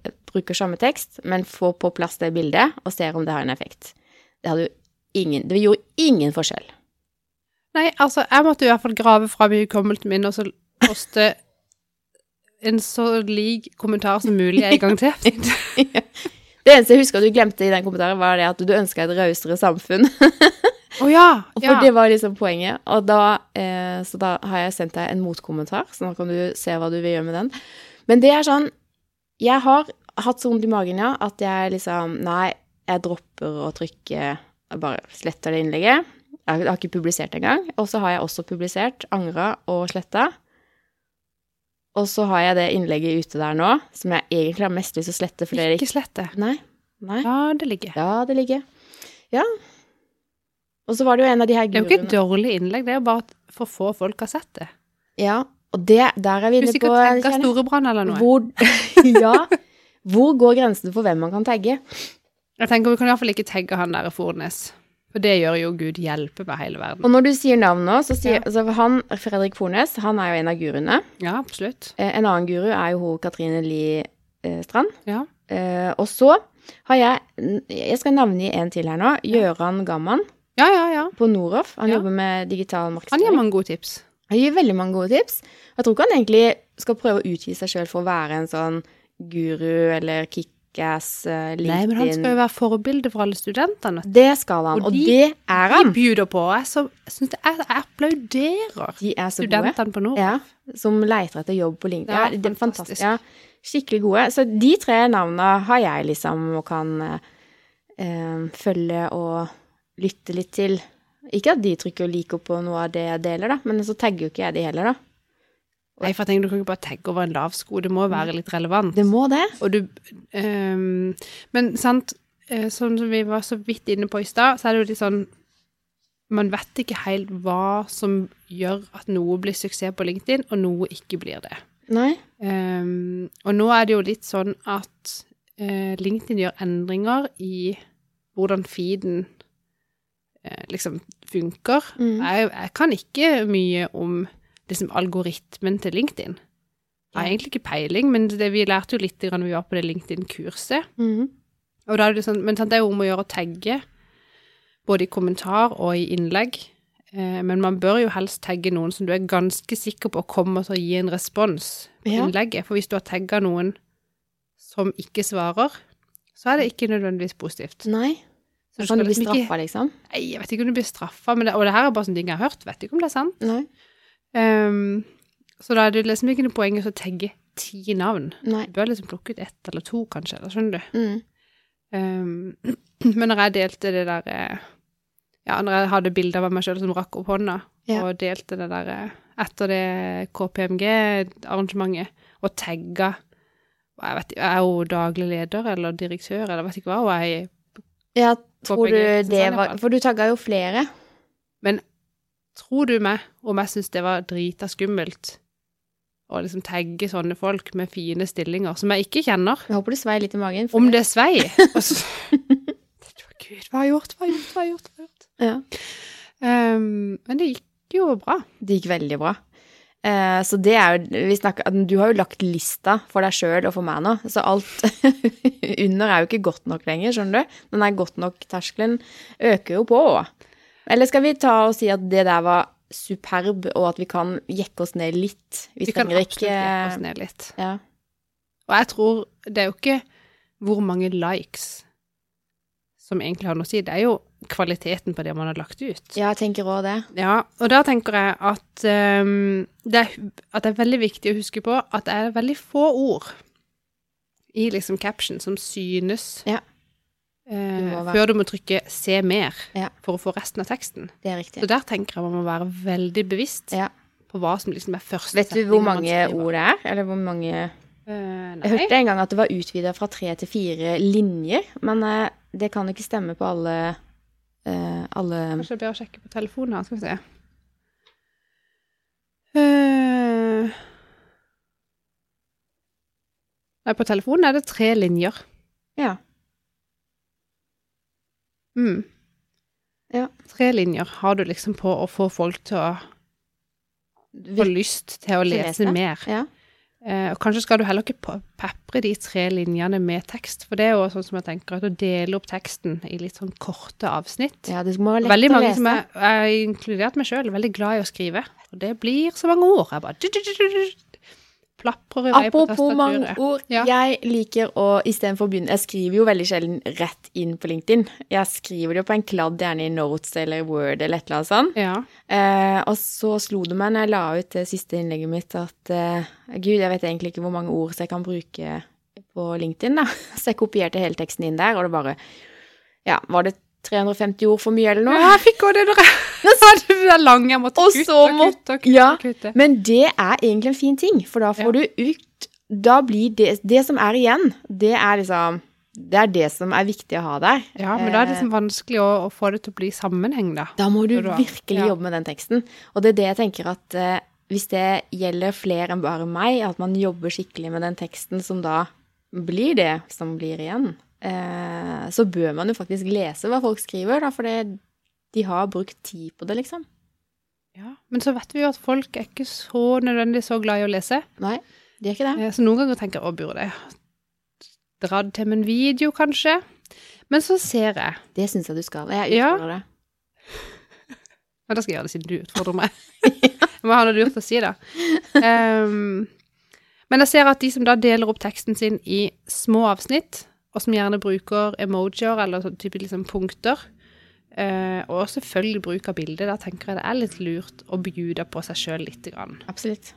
Jeg Bruker samme tekst, men får på plass det bildet og ser om det har en effekt. Det, hadde jo ingen, det gjorde ingen forskjell. Nei, altså, jeg måtte i hvert fall grave fram i hukommelsen min og så poste en så lik kommentar som mulig en gang til. Det eneste jeg husker at du glemte i den kommentaren, var det at du ønska et rausere samfunn. Å ja! For ja. det var liksom poenget. Og da, eh, så da har jeg sendt deg en motkommentar, så nå kan du se hva du vil gjøre med den. Men det er sånn Jeg har hatt så vondt i magen, ja, at jeg liksom Nei, jeg dropper å trykke Jeg bare sletter det innlegget. Jeg har ikke publisert det engang. Og så har jeg også publisert, angra og sletta. Og så har jeg det innlegget ute der nå, som jeg egentlig har mest lyst til å slette. For det er Ikke slett det. ikke Nei. Nei. Ja, det ligger. Ja, det ligger. Ja. Og så var det jo en av de her Det er jo ikke guruene. et dårlig innlegg, det er jo bare at for få folk har sett det. Ja, og det, der er vi Du inne på sikkert tenker kjerne- Storebrann eller noe. Hvor, ja, hvor går grensen for hvem man kan tagge? Jeg tenker vi kan i hvert fall ikke tagge han der i Fornes. For det gjør jo Gud hjelpe meg hele verden. Og når du sier navn nå, så sier Ja. altså han, Fredrik Fornes, han er jo en av guruene. Ja, absolutt. Eh, En annen guru er jo hun Katrine Lie eh, Strand. Ja. Eh, og så har jeg Jeg skal navngi en til her nå. Gøran Gamman Ja, ja, ja. på Noroff. Han Ja. jobber med digital Han markedsføring. gir mange gode tips. Han gir veldig mange gode tips. Jeg tror ikke han egentlig skal prøve å utgi seg sjøl for å være en sånn guru eller kickass, eh, LinkedIn Nei, men han skal jo være forbilde for alle studentene. Det skal han, Og og, de- det er De han. bjuder på, og jeg, som- jeg synes det er, jeg applauderer De er så gode. studentene på Nord. Ja, som leiter etter jobb på LinkedIn. Ja, Ja, det er fantastisk. fantastisk. Ja, skikkelig gode. Så de tre navna har jeg liksom og kan eh, eh, følge og lytte litt til. Ikke at de trykker like opp på noe av det jeg deler, da, men så tagger jo ikke jeg de heller, da. Nei, for jeg tenker du kan ikke bare tagge over en lav sko, det må jo være litt relevant. Det må det. Og du ehm, Men sant, eh, sånn som vi var så vidt inne på i stad, så er det jo litt sånn Man vet ikke helt hva som gjør at noe blir suksess på LinkedIn, og noe ikke blir det. Nei. Ehm, og nå er det jo litt sånn at eh, LinkedIn gjør endringer i hvordan feeden eh, liksom funker. Mm. Jeg, jeg kan ikke mye om liksom, algoritmen til LinkedIn. Jeg har Ja. egentlig ikke peiling, men det, vi lærte jo litt grann når vi var på det LinkedIn-kurset. Mhm. Og da er det sånn, men sant, det er jo om å gjøre å tagge, både i kommentar og i innlegg. Eh, men man bør jo helst tagge noen som du er ganske sikker på kommer til å gi en respons på Ja. innlegget. For hvis du har tagga noen som ikke svarer, så er det ikke nødvendigvis positivt. Nei. Så du Kan skal du bli liksom ikke- straffa, liksom? Nei, jeg vet ikke om du blir straffa, men det, og det her er bare sånne ting jeg har hørt, vet ikke om det er sant. Nei. Ehm, så da er det liksom ikke noe poeng i å tagge ti navn. Nei. Du bør liksom plukke ut ett eller to, kanskje, eller skjønner du. Mm. Ehm, men når jeg delte det der eh, Ja, når jeg hadde bilder av meg sjøl som rakk opp hånda, Ja. og delte det der eh, etter det KPMG-arrangementet, og tagga og Jeg vet ikke, jeg er jo daglig leder eller direktør eller vet ikke hva, og jeg Ja, tror Håper jeg du ikke synes det han er var bra. For du tagga jo flere. Tror du meg om jeg syns det var drita skummelt å liksom tagge sånne folk med fine stillinger som jeg ikke kjenner? Jeg håper du svei litt i magen. for Om det svei? Altså, det tror jeg, Gud, Hva har jeg gjort, hva har jeg gjort, hva har jeg gjort? Hva har jeg gjort? Ja. Ehm, men det gikk jo bra. Det gikk veldig bra. Eh, så det er jo vi snakker, Du har jo lagt lista for deg sjøl og for meg nå, så alt under er jo ikke godt nok lenger, skjønner du. Den der godt nok-terskelen øker jo på òg. Eller skal vi ta og si at det der var superb, og at vi kan jekke oss ned litt? Vi, Vi kan trenger absolutt ikke jekke oss ned litt. Ja. Og jeg tror det er jo ikke hvor mange likes som egentlig har noe å si, det er jo kvaliteten på det man har lagt ut. ja, jeg tenker òg det. Ja, og da tenker jeg at, ehm, det er, at det er veldig viktig å huske på at det er veldig få ord i liksom caption som synes Ja. eh, Du må være- før du må trykke 'se mer' Ja. for å få resten av teksten. Det er Så riktig. der tenker jeg man må være veldig bevisst Ja. på hva som liksom er første Vet du hvor setningen man mange skriver. ord det er? Eller hvor mange Eh, nei. Jeg hørte en gang at det var utvida fra tre til fire linjer, men eh, det kan ikke stemme på alle, eh, alle Kanskje det er bedre å sjekke på telefonen her, skal vi se. Eh. Nei, på telefonen er det tre linjer. Ja. Mm. Ja. Tre linjer har du liksom på å få folk til å få lyst til å Til å lese lese. mer. Ja. Eh, og kanskje skal du heller ikke pa- pepre de tre linjene med tekst, for det er jo sånn som jeg tenker, at å dele opp teksten i litt sånn korte avsnitt. ja, det må være lett Veldig å mange lese. som er, er inkludert meg sjøl, veldig glad i å skrive. Og det blir så mange ord. Jeg bare du, du, du, du, du, plaprer i vei på Apropos mange tastaturet. ord. Ja. Jeg liker å istedenfor å begynne Jeg skriver jo veldig sjelden rett inn på LinkedIn. Jeg skriver det jo på en kladd, gjerne i Notes eller i Word eller et eller annet sånt. Ja. Eh, og så slo det meg når jeg la ut det siste innlegget mitt, at eh, gud, jeg vet egentlig ikke hvor mange ord så jeg kan bruke på LinkedIn, da. Så jeg kopierte hele teksten inn der, og det bare Ja, var det 350 ord for mye eller Ja, noe? Jeg fikk også det når jeg hadde det der lange. Jeg måtte Og kutte så og må- kutte og kutte. ja. og kutte. Men det er egentlig en fin ting, for da får du ut Da blir det Det som er igjen, det er liksom Det er det som er viktig å ha der. ja, men da er det liksom vanskelig å, å få det til å bli sammenheng, da. Da må du Når du har- virkelig ja. jobbe med den teksten. Og det er det jeg tenker at eh, hvis det gjelder flere enn bare meg, at man jobber skikkelig med den teksten som da blir det som blir igjen, eh, så bør man jo faktisk lese hva folk skriver, da, for det, de har brukt tid på det, liksom. Ja. Men så vet vi jo at folk er ikke så nødvendig så glad i å lese. Nei, de er ikke det. Eh, Så noen ganger tenker jeg å, burde jeg dratt til med en video, kanskje? Men så ser jeg Det syns jeg du skal. Jeg Ja. utfordrer deg. Ja, da skal jeg gjøre det siden du utfordrer meg. Hva har du lurt å si, da? Ehm, men jeg ser at de som da deler opp teksten sin i små avsnitt, og som gjerne bruker emojier eller sånn type liksom punkter, eh, og selvfølgelig bruker bilder, da tenker jeg det er litt lurt å bjude på seg sjøl lite grann. Absolutt.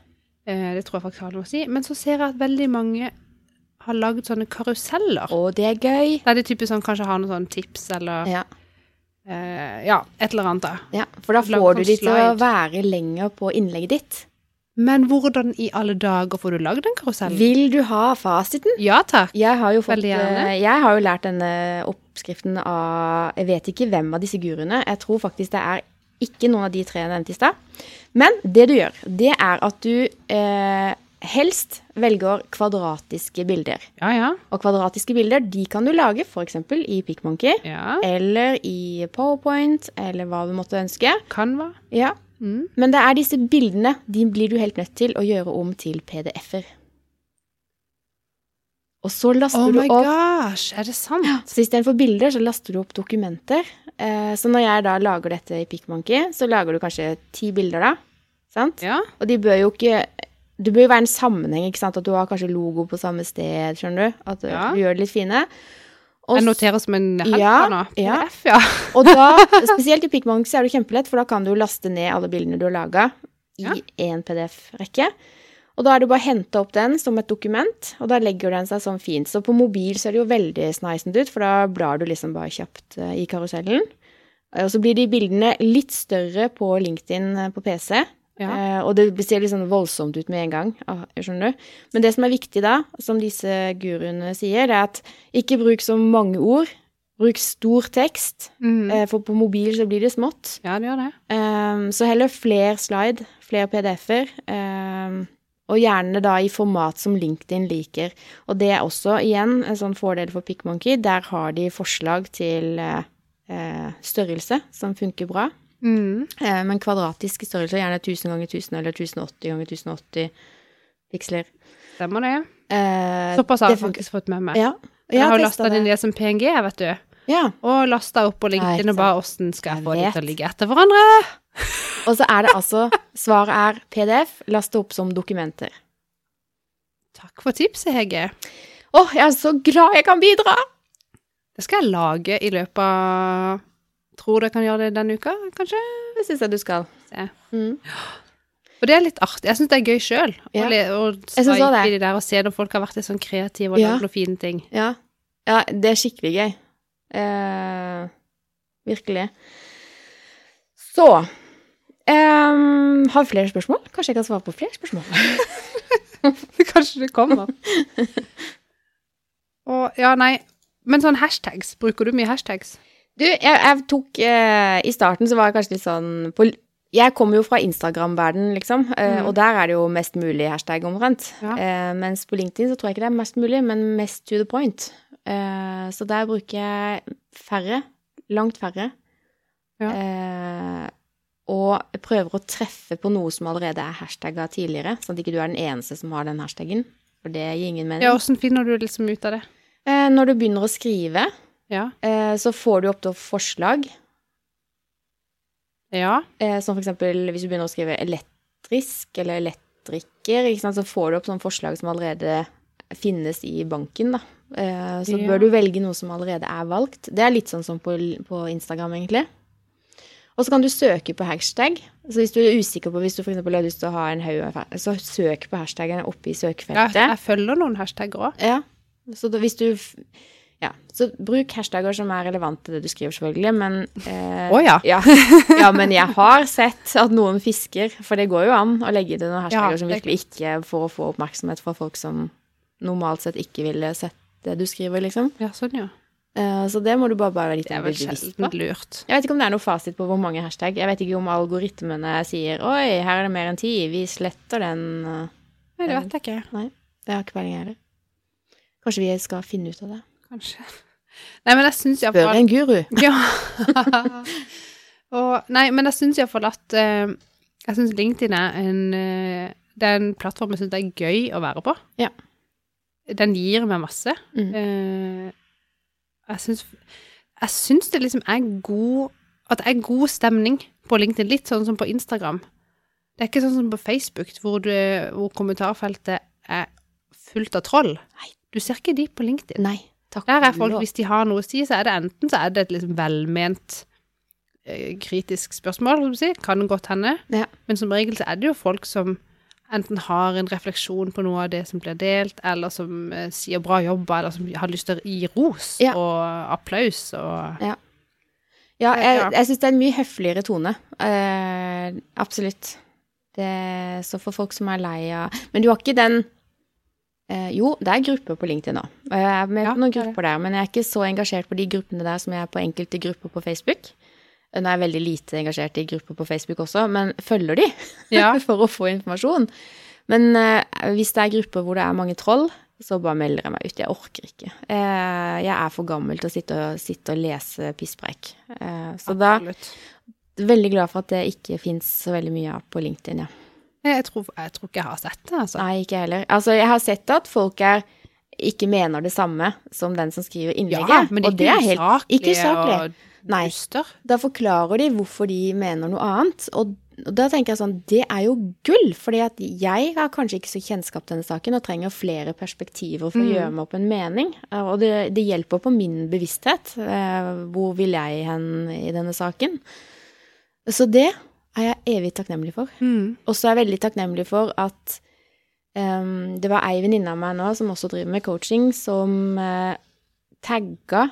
Eh, det tror jeg faktisk har noe å si. Men så ser jeg at veldig mange har lagd sånne karuseller. Og det er gøy. Der de typisk sånn, kanskje har noen sånne tips eller Ja. eh, ja, et eller annet, da. ja, for da Lag får du sånn de til å slide. være lenger på innlegget ditt. Men hvordan i alle dager får du lagd den karusellen? Vil du ha fasiten? Ja takk. Jeg har jo, fått, Veldig gjerne. eh, jeg har jo lært denne oppskriften av Jeg vet ikke hvem av disse guruene. Jeg tror faktisk det er ikke noen av de tre jeg nevnte i stad. Men det du gjør, det er at du eh, helst velger kvadratiske bilder. Ja, ja. Og kvadratiske bilder de kan du lage f.eks. i Pickmonkey. ja. Eller i PowerPoint, eller hva du måtte ønske. Canva. Ja. Mm. Men det er disse bildene de blir du helt nødt til å gjøre om til PDF-er. Og så laster Oh du my opp gosh, er det sant? så istedenfor bilder, så laster du opp dokumenter. Eh, så når jeg da lager dette i Pickmonkey, så lager du kanskje ti bilder, da. Sant? Ja. Og de bør jo ikke Det bør jo være en sammenheng, ikke sant? At du har kanskje logo på samme sted, skjønner du? At Ja. du gjør det litt fine. Og, Jeg noterer som en helg Ja, nå. ja. PDF, ja. og da, spesielt i Pickmonkey, så er det kjempelett, for da kan du laste ned alle bildene du har laga i Ja. én PDF-rekke. Og da er det bare å hente opp den som et dokument, og da legger den seg sånn fint. Så på mobil så er det jo veldig sneisent ut, for da blar du liksom bare kjapt eh, i karusellen. Eh, Og så blir de bildene litt større på LinkedIn eh, på PC, Ja. eh, og det ser litt sånn voldsomt ut med en gang. Ah, skjønner du? Men det som er viktig da, som disse guruene sier, det er at ikke bruk så mange ord. Bruk stor tekst, Mm. Eh, For på mobil så blir det smått. ja, det gjør det. Ehm, Så heller flere slide, flere PDF-er. ehm, Og gjerne da i format som LinkedIn liker. Og det er også igjen en sånn fordel for Pickmonkey. Der har de forslag til eh, eh, størrelse som funker bra. Mm. Eh, men kvadratiske størrelser, gjerne 1000 ganger 1000 eller 1080 ganger 1080 piksler. Stemmer det? Eh, Såpass har det jeg funker- faktisk fått med meg. Ja. jeg har testet lasta den ned som PNG, vet du. Ja. Og lasta opp på Nei, LinkedIn ikke og bare åssen skal Jeg jeg få de vet. til å ligge etter hverandre? Og så er det altså Svaret er PDF. Last det opp som dokumenter. Takk for tipset, Hege. Å, jeg er så glad jeg kan bidra! Det skal jeg lage i løpet av Tror jeg kan gjøre det denne uka, kanskje? Det syns jeg du skal. Se. Mm. Og det er litt artig. Jeg syns det er gøy sjøl Ja. å, le- å synes også sveike det. i de der og se når folk har vært litt sånn kreative og Ja. lagd noen fine ting. Ja. ja. Det er skikkelig gøy. Eh, virkelig. Så ehm, Har vi flere spørsmål? Kanskje jeg kan svare på flere spørsmål? Kanskje det kommer. og ja, nei. Men sånn hashtags. Bruker du mye hashtags? Du, jeg, jeg tok eh, I starten så var jeg kanskje litt sånn på, Jeg kommer jo fra Instagram-verden, liksom. eh, Mm. Og der er det jo mest mulig hashtag omtrent. Ja. Eh, mens på LinkedIn så tror jeg ikke det er mest mulig, men mest to the point. Eh, så der bruker jeg færre. Langt færre. Ja. Eh, og jeg prøver å treffe på noe som allerede er hashtagga tidligere, sånn at ikke du er den eneste som har den hashtaggen. For det gir ingen mening. Ja, åssen finner du liksom ut av det? Eh, når du begynner å skrive, Ja. eh, så får du opp til forslag. Ja. Eh, Som for eksempel hvis du begynner å skrive elektrisk eller elektriker, ikke sant, så får du opp sånne forslag som allerede finnes i banken. Da. Eh, Så Ja. bør du velge noe som allerede er valgt. Det er litt sånn som på, på Instagram, egentlig. Og så kan du søke på hashtag. Så hvis du er usikker på hvis du for eksempel har lyst til å ha en haug, av fa- så søk på hashtagene oppe i Jeg, søkefeltet. jeg følger noen hashtagger òg. Ja. Så da, hvis du f- Ja. Så bruk hashtagger som er relevant til det du skriver, selvfølgelig, men eh, Å ja. ja. ja. Men jeg har sett at noen fisker, for det går jo an å legge det noen hashtagger Ja, som det- virkelig ikke for å få oppmerksomhet fra folk som normalt sett ikke ville sett det du skriver, liksom. Ja, sånn, ja. Eh, Så det må du bare, bare være litt Det er vel bevisst på. sjelden lurt. Jeg vet ikke om det er noe fasit på hvor mange hashtag. Jeg vet ikke om algoritmene sier 'oi, her er det mer enn ti', vi sletter den. Nei, det vet jeg ikke. Nei, det har ikke peiling jeg heller. Kanskje vi skal finne ut av det. Kanskje. Nei, men jeg syns Spør iallfall en guru. Ja. og, nei, men jeg syns iallfall at eh, Jeg syns LinkedIn er en eh, Det er en plattform jeg syns er gøy å være på. Ja. Den gir meg masse. Mm. Eh, jeg syns Jeg syns det liksom er god At det er god stemning på LinkedIn, litt sånn som på Instagram. Det er ikke sånn som på Facebook, hvor, du, hvor kommentarfeltet er fullt av troll. Nei. Du ser ikke de på LinkedIn. Nei, takk. Der er for folk, lov. hvis de har noe å si, så er det enten så er det et liksom velment eh, kritisk spørsmål, som du sier, kan godt hende, Ja. men som regel så er det jo folk som enten har en refleksjon på noe av det som blir delt, eller som eh, sier bra jobba, eller som har lyst til å gi ros Ja. og applaus og Ja, jeg, Eh, Ja. jeg syns det er en mye høfligere tone. Eh, absolutt. Det, så for folk som er lei av Men du har ikke den eh, Jo, det er grupper på LinkedIn nå. Og Jeg er med Ja, på noen det er det. grupper der, men jeg er ikke så engasjert på de gruppene der som jeg er på enkelte grupper på Facebook. Nå er jeg veldig lite engasjert i grupper på Facebook også, men følger de Ja. for å få informasjon. Men eh, hvis det er grupper hvor det er mange troll, så bare melder jeg meg ut. Jeg orker ikke. Eh, jeg er for gammel til å sitte og, sitte og lese pisspreik. Eh, så da Absolutt. Veldig glad for at det ikke fins så veldig mye av på LinkedIn, ja. Nei, Jeg tror, jeg tror ikke jeg har sett det, altså. Nei, ikke jeg heller. Altså, jeg har sett at folk er ikke mener det samme som den som skriver innlegget. men de og det er helt ikke usaklige usaklig. og Nei. duster. Da forklarer de hvorfor de mener noe annet. Og og da tenker jeg sånn, det er jo gull, fordi at jeg har kanskje ikke så kjennskap til denne saken og trenger flere perspektiver for å Mm. gjøre meg opp en mening. Eh, Og det, det hjelper på min bevissthet. Eh, Hvor vil jeg hen i denne saken? Så det er jeg evig takknemlig for. Mm. Og så er jeg veldig takknemlig for at em, det var ei venninne av meg nå som også driver med coaching, som uh, tagga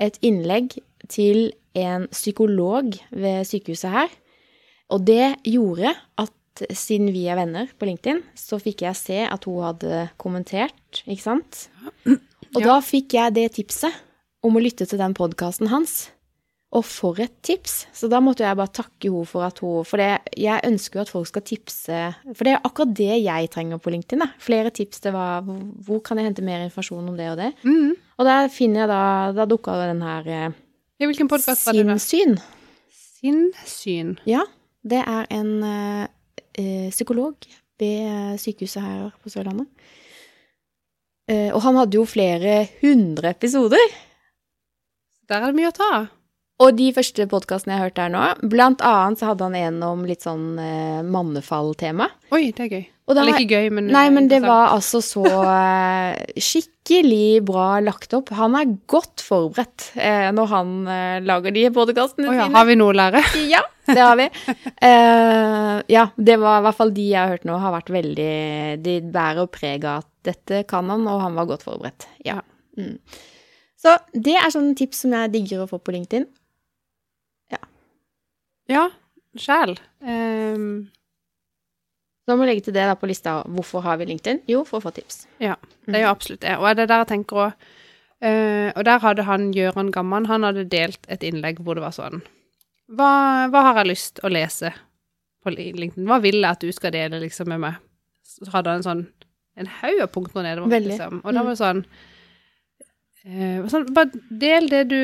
et innlegg til en psykolog ved sykehuset her. Og det gjorde at siden vi er venner på LinkedIn, så fikk jeg se at hun hadde kommentert, ikke sant? Og Ja. da fikk jeg det tipset om å lytte til den podkasten hans. Og for et tips! Så da måtte jeg bare takke henne for at hun For det, jeg ønsker jo at folk skal tipse For det er akkurat det jeg trenger på LinkedIn. Da. Flere tips til hva Hvor kan jeg hente mer informasjon om det og det? Mm. Og der finner jeg da Da dukka den her eh, Ja, hvilken podkast var det? da? Sinnssyn. Sinnssyn. Ja, det er en eh, eh, psykolog ved eh, sykehuset her på Sørlandet. Eh, og han hadde jo flere hundre episoder. Der er det mye å ta av. Og de første podkastene jeg har hørt der nå, blant annet så hadde han en om litt sånn eh, mannefall-tema. Oi, det er gøy. Og da Eller har- ikke gøy, men Nei, men det interessant. var altså så eh, skikkelig bra lagt opp. Han er godt forberedt eh, når han eh, lager de podkastene Å ja, sine. har vi noe å lære? Ja, det har vi. Eh, ja, det var i hvert fall de jeg har hørt nå, har vært veldig De bærer preg av at dette kan han, og han var godt forberedt. Ja. Mm. Så det er sånne tips som jeg digger å få på LinkedIn. Ja, sjæl. Ehm, Så må jeg legge til det da på lista. Hvorfor har vi LinkedIn? Jo, for å få tips. det er jo absolutt det. Og det er der jeg tenker òg Og der hadde han Gøran Gamman, han hadde delt et innlegg hvor det var sånn Hva, hva har jeg lyst å lese på Li- LinkedIn? Hva vil jeg at du skal dele liksom med meg? Så hadde han en sånn en haug av punkter nedover. Veldig. Mm. Liksom. Og da var det sånn eh, sånn, Bare del det du,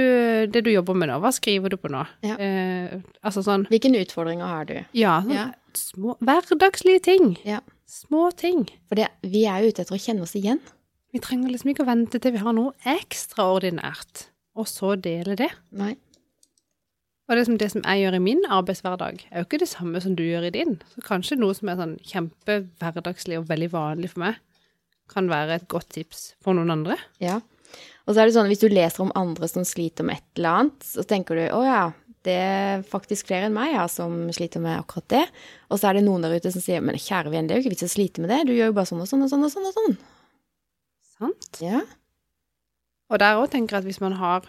det du jobber med nå. Hva skriver du på nå? Ja. Eh, altså sånn Hvilke utfordringer har du? Ja, sånn, Ja. Små, hverdagslige ting. Ja. Små ting. For det, vi er jo ute etter å kjenne oss igjen. Vi trenger liksom ikke å vente til vi har noe ekstraordinært, og så dele det. Nei. Og det som, det som jeg gjør i min arbeidshverdag, er jo ikke det samme som du gjør i din. Så kanskje noe som er sånn kjempehverdagslig og veldig vanlig for meg, kan være et godt tips for noen andre. Ja. Og så er det sånn, hvis du leser om andre som sliter med et eller annet, så tenker du å ja, det er faktisk flere enn meg ja, som sliter med akkurat det. Og så er det noen der ute som sier men kjære venn, det er jo ikke vits å slite med det, du gjør jo bare sånn og sånn og sånn og sånn. Og sånn. Sant? Ja. Og der òg tenker jeg at hvis man har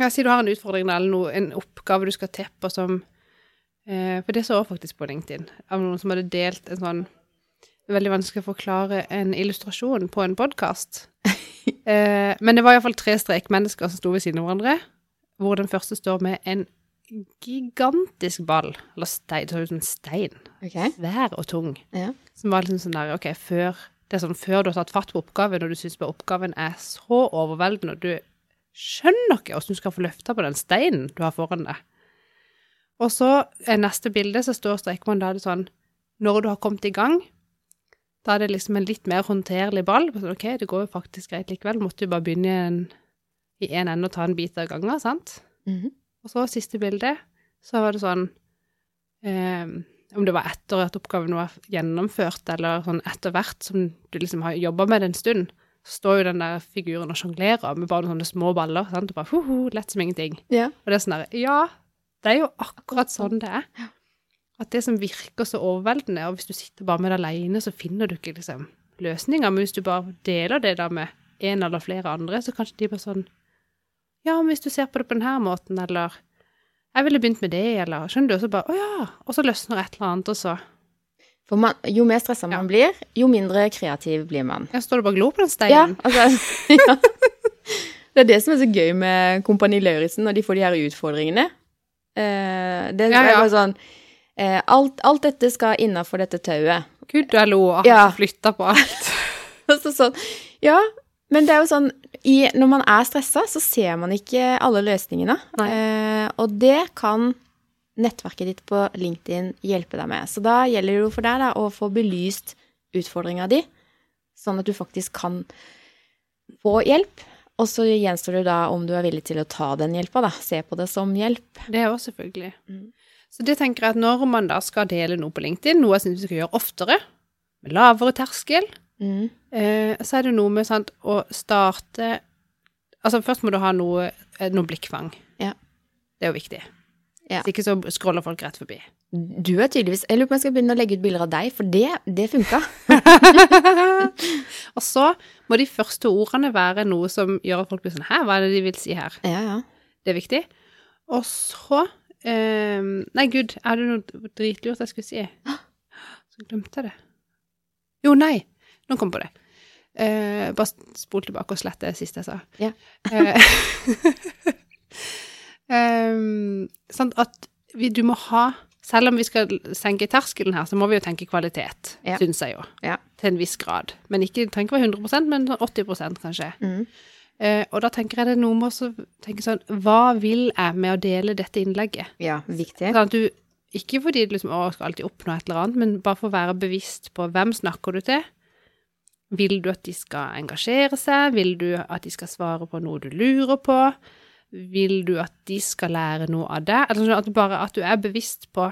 Ja, si du har en utfordring da, eller noe, en oppgave du skal til på som eh, For det så jeg faktisk på LinkedIn, av noen som hadde delt en sånn det er Veldig vanskelig å forklare en illustrasjon på en podkast. Eh, men det var iallfall tre strekmennesker som sto ved siden av hverandre, hvor den første står med en gigantisk ball, eller stein, det så ut som en stein, Ok. svær og tung, Ja. som var liksom sånn der, ok, før, det er sånn, før du har tatt fatt på oppgaven, og du synes bare oppgaven er så overveldende, og du skjønner ikke hvordan du skal få løfta på den steinen du har foran deg. Og så eh, neste bilde, så står strekmannen da er det sånn, når du har kommet i gang, da er det liksom en litt mer håndterlig ball. Sånn, ok, det går jo faktisk greit likevel, måtte jo bare begynne i en, i en ende og ta en bit av gangen, sant? Mhm. Og så siste bilde, så var det sånn eh, Om det var etter at oppgaven var gjennomført, eller sånn etter hvert som du liksom har jobba med det en stund, så står jo den der figuren og sjonglerer med bare noen sånne små baller. sant? Og bare ho-ho, lett som ingenting. ja. Og det er sånn der Ja, det er jo akkurat sånn det er. At det som virker så overveldende, og hvis du sitter bare med det alene, så finner du ikke liksom løsninger. Men hvis du bare deler det da med en eller flere andre, så kanskje de bare sånn Ja, men hvis du ser på det på denne måten, eller Jeg ville begynt med det, eller Skjønner du? Og så bare Å ja! Og så løsner et eller annet, og så For man, jo mer stressa man blir, jo mindre kreativ blir man. Ja, står du bare og glor på den Ja, steinen? altså ja. Det er det som er så gøy med Kompani Lauritzen når de får de her utfordringene. Eh, det Ja, er ja. bare sånn eh, alt, alt dette skal innafor dette tauet. Gud, du er lo, og Ja. har flytta på alt. Altså sånn, ja, men det er jo sånn i, Når man er stressa, så ser man ikke alle løsningene. Eh, og det kan nettverket ditt på LinkedIn hjelpe deg med. Så da gjelder det jo for deg da, å få belyst utfordringa di, sånn at du faktisk kan få hjelp. Og så gjenstår det da om du er villig til å ta den hjelpa, da. Se på det som hjelp. Det òg, selvfølgelig. Mm. Så det tenker jeg at når man da skal dele noe på LinkedIn, noe jeg syns vi skal gjøre oftere, med lavere terskel, Mm. eh, så er det noe med sant, å starte Altså først må du ha noe, eh, noe blikkfang. Ja. Det er jo viktig. Ja. Hvis ikke så scroller folk rett forbi. Du er tydeligvis Jeg lurer på om jeg skal begynne å legge ut bilder av deg, for det, det funka. Og så må de første ordene være noe som gjør at folk blir sånn Hæ, hva er det de vil si her? Ja, ja. Det er viktig. Og så eh, Nei, gud, jeg hadde noe dritlurt jeg skulle si. Så glemte jeg det. Jo, nei! Nå kom jeg på det. Eh, bare spol tilbake og slett det siste jeg sa. Ja. Eh, em, ehm, sant, at vi, du må ha Selv om vi skal senke terskelen her, så må vi jo tenke kvalitet, Ja. syns jeg jo. Ja. Til en viss grad. Men ikke, det trenger ikke være 100 men sånn 80 kanskje. Mm. Eh, og da tenker jeg det er noe med å så tenke sånn Hva vil jeg med å dele dette innlegget? Ja, viktig. Sånn at du, ikke fordi du liksom, å, skal alltid oppnå et eller annet, men bare for å være bevisst på hvem snakker du til. Vil du at de skal engasjere seg? Vil du at de skal svare på noe du lurer på? Vil du at de skal lære noe av deg? Altså sånn at du bare at du er bevisst på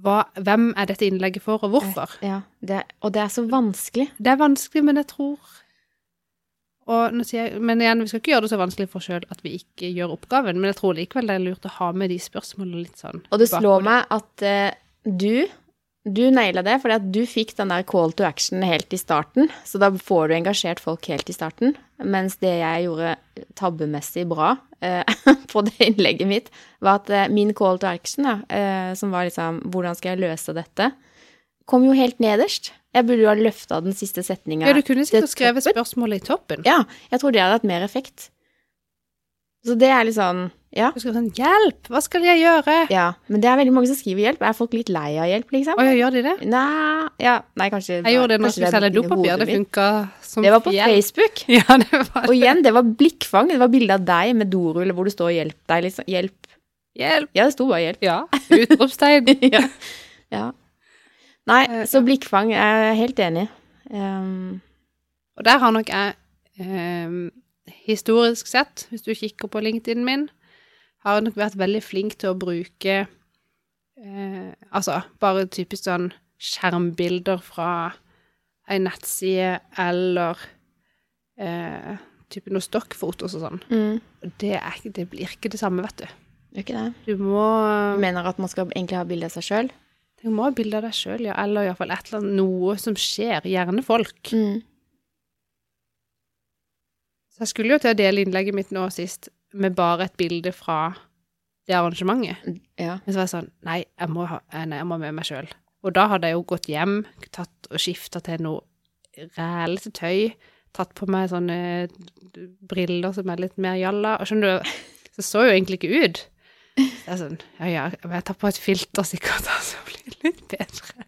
hva, hvem er dette innlegget for, og hvorfor. Eh, Ja, det, og det er så vanskelig. Det er vanskelig, men jeg tror og nå sier jeg, Men igjen, vi skal ikke gjøre det så vanskelig for oss sjøl at vi ikke gjør oppgaven, men jeg tror likevel det er lurt å ha med de spørsmålene litt sånn. Og det bak- slår meg at eh, du du naila det, fordi at du fikk den der call to action helt i starten. Så da får du engasjert folk helt i starten. Mens det jeg gjorde tabbemessig bra eh, på det innlegget mitt, var at eh, min call to action, da, eh, som var liksom 'hvordan skal jeg løse dette', kom jo helt nederst. Jeg burde jo ha løfta den siste setninga. Ja, du kunne sikkert Det skrevet toppen. spørsmålet i toppen. Ja, jeg tror det hadde hatt mer effekt. Så det er litt sånn Ja. Du skrev sånn 'Hjelp! Hva skal jeg gjøre?' ja. Men det er veldig mange som skriver hjelp. Er folk litt lei av hjelp, liksom? Å ja, gjør de det? Nei, ja, nei kanskje Jeg gjorde det når jeg kanskje skulle er selge inni dopapir. hodet Det mitt. funka som Det var på fjell. Facebook. Ja, det var Og igjen, det var blikkfang. Det var bilde av deg med dorull hvor det står 'hjelp deg'. Liksom. Hjelp. Hjelp! Ja, det sto bare 'hjelp'. Ja. Utropstegn. ja. ja. Nei, Eh, så blikkfang jeg er helt enig. Um, Og der har nok jeg ehm, historisk sett, hvis du kikker på LinkedIn min, har jeg nok vært veldig flink til å bruke eh, Altså bare typisk sånn skjermbilder fra ei nettside eller eh, type noe stokkfotos og sånn. mm, Og Det, er, ikke- det blir ikke det samme, vet du. gjør ikke det. Du må, Jeg mener at man skal egentlig ha bilde av seg sjøl. du må ha bilde av deg sjøl, ja, eller iallfall et eller annet noe som skjer. Gjerne folk. Mm. Så jeg skulle jo til å dele innlegget mitt nå sist med bare et bilde fra det arrangementet. Ja. Men så var jeg sånn Nei, jeg må ha eh, nei, jeg må ha med meg sjøl. Og da hadde jeg jo gått hjem, tatt og skifta til noe rælete tøy, tatt på meg sånne briller som er litt mer jalla, og skjønner du, så jeg så jo egentlig ikke ut. Så jeg er sånn Ja, ja, men jeg tar på et filter sikkert, da, så blir det litt bedre.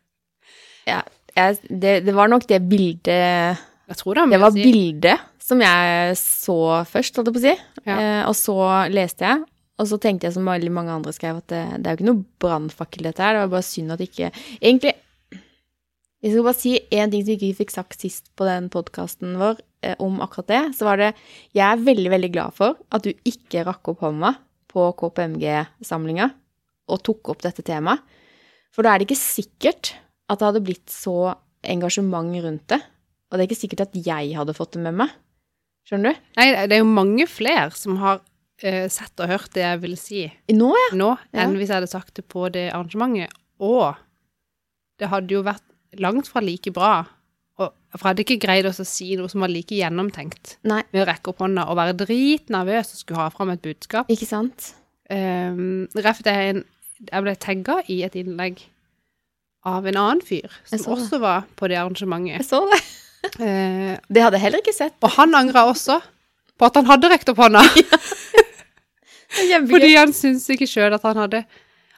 Jeg, det, det var nok det bildet Jeg tror det, Det men var jeg sier- bildet som jeg så først, holdt jeg på å si. Ja. Eh, og så leste jeg. Og så tenkte jeg som veldig mange andre skrev, at det, det er jo ikke noe brannfakkel dette her. Det var bare synd at ikke Egentlig Jeg skal bare si én ting som vi ikke fikk sagt sist på den podkasten vår eh, om akkurat det. Så var det Jeg er veldig, veldig glad for at du ikke rakk opp hånda på KPMG-samlinga og tok opp dette temaet. For da er det ikke sikkert at det hadde blitt så engasjement rundt det. Og det er ikke sikkert at jeg hadde fått det med meg. Skjønner du? Nei, det er jo mange flere som har eh, sett og hørt det jeg ville si. Nå, ja. nå Ja. enn hvis jeg hadde sagt det på det arrangementet. Og det hadde jo vært langt fra like bra. Og, for jeg hadde ikke greid også å si noe som var like gjennomtenkt. Nei, Med å rekke opp hånda og være dritnervøs og skulle ha fram et budskap. ikke sant? Um, Ref, det er en, jeg ble tagga i et innlegg av en annen fyr, som Jeg så det. også var på det arrangementet. Jeg så det. Eh, Det hadde jeg heller ikke sett. og han angra også på at han hadde rekt opp hånda. Kjempegøy. Fordi han syntes ikke sjøl at han hadde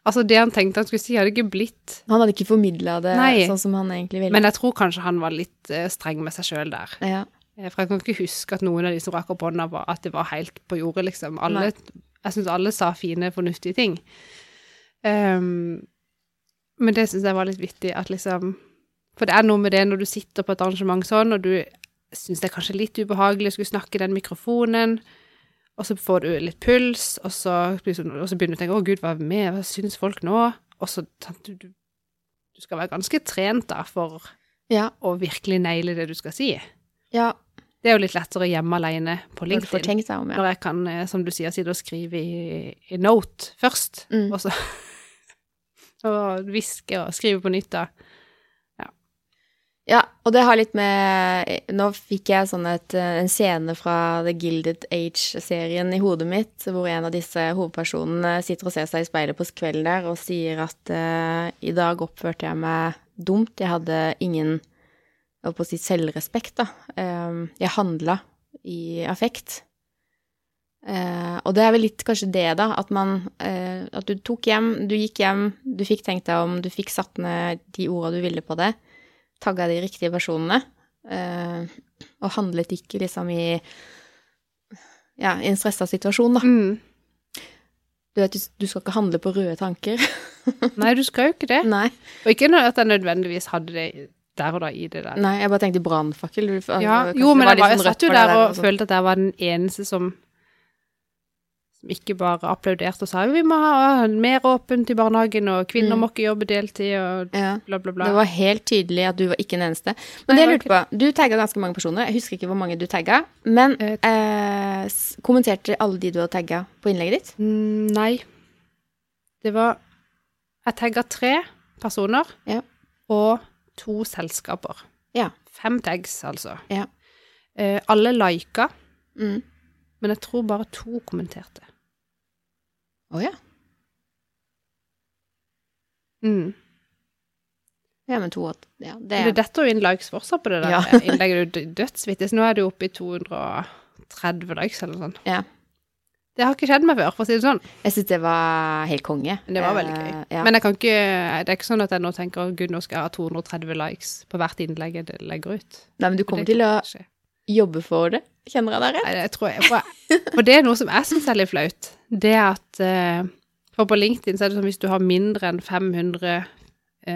Altså, det han tenkte han skulle si, hadde ikke blitt Han hadde ikke formidla det Nei. sånn som han egentlig ville. Men jeg tror kanskje han var litt eh, streng med seg sjøl der. ja. Eh, For jeg kan ikke huske at noen av de som rakk opp hånda, var at det var helt på jordet, liksom. Alle, jeg syns alle sa fine, fornuftige ting. Ehm, men det syns jeg var litt vittig at liksom For det er noe med det når du sitter på et arrangement sånn, og du syns det er kanskje litt ubehagelig å skulle snakke i den mikrofonen, og så får du litt puls, og så, blir det sånn- og så begynner du å tenke 'Å, gud, hva, er med? hva syns folk nå?' Og så sant, du, du, du skal være ganske trent da for Ja. å virkelig naile det du skal si. ja. Det er jo litt lettere hjemme alene på Når du får LinkedIn. tenkt deg om, ja. Når jeg kan, eh, som du sier, sitte og skrive i, i note først, Mm. og så og hviske og skrive på nytt da. Ja, og det har litt med Nå fikk jeg sånn et, en scene fra The Gilded Age-serien i hodet mitt, hvor en av disse hovedpersonene sitter og ser seg i speilet på kvelden der og sier at eh, i dag oppførte jeg meg dumt, jeg hadde ingen jeg holdt på å si selvrespekt, da. Eh, jeg handla i affekt. Eh, og det er vel litt kanskje det, da, at man eh, At du tok hjem, du gikk hjem, du fikk tenkt deg om, du fikk satt ned de orda du ville på det tagga de riktige personene. eh, og handlet ikke liksom i ja, i en stressa situasjon, da. Mm. Du vet, du skal ikke handle på røde tanker. Nei, du skal jo ikke det. Nei. Og ikke noe at jeg nødvendigvis hadde det der og da i det der. Nei, jeg bare tenkte brannfakkel. Du- Ja, Mm. kanskje jo, det men var jeg, var, litt jeg sånn satt jo rødt der for deg og sånn. følte at jeg var den eneste som som ikke bare applauderte og sa vi må ha mer åpent i barnehagen, og kvinner Mm. må ikke jobbe deltid, og ja. bla, bla, bla. Det var helt tydelig at du var ikke den eneste. Men Nei, det jeg jeg lurte på, Du tagga ganske mange personer. Jeg husker ikke hvor mange du tagga. Men Eh, eh, s- kommenterte alle de du hadde tagga på innlegget ditt? Mm, nei. Det var Jeg tagga tre personer Ja. og to selskaper. Ja. Fem tags, altså. Ja. Eh, alle lika, Mm. men jeg tror bare to kommenterte. Å ja. Mm. Ja, men to at- ja, det, Men Det detter jo inn likes fortsatt på det der Ja. innlegget. Det er jo dødsvittig. Så nå er det jo oppe i 230 likes eller noe sånt. Ja. Det har ikke skjedd meg før, for å si det sånn. Jeg syns det var helt konge. Men det var veldig gøy. Eh, ja. Men jeg kan ikke, det er ikke sånn at jeg nå tenker at gud, nå skal jeg ha 230 likes på hvert innlegg jeg legger ut. Nei, men du det kommer til å kan ikke skje. jobbe for det, kjenner jeg dere? Nei, det tror jeg for- For det er noe som jeg syns er litt flaut. Det er at eh, For på LinkedIn så er det sånn hvis du har mindre enn 500 eh,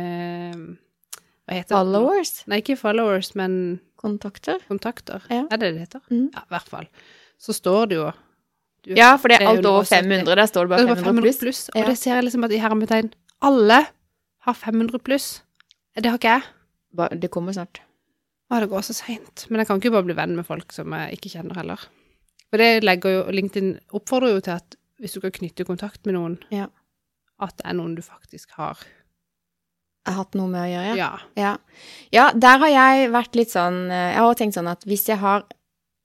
Hva heter det? Followers? Nei, ikke followers, men Kontakter? kontakter. Ja. Er det det heter? Mm. Ja, i hvert fall. Så står det jo du- Ja, for det Det er er alt over 170. 500. Der står det det bare var 500 pluss. pluss. Ja. Og det ser jeg liksom at i hermetegn Alle har 500 pluss. Det har ikke jeg. Bare- Det kommer snart. Å, det går så seint. Men jeg kan ikke bare bli venn med folk som jeg ikke kjenner heller. For det legger jo LinkedIn oppfordrer jo til at hvis du skal knytte kontakt med noen, Ja. at det er noen du faktisk har. Jeg har hatt noe med å gjøre, ja. Ja. Ja. ja, der har jeg vært litt sånn eh, Jeg har også tenkt sånn at hvis jeg har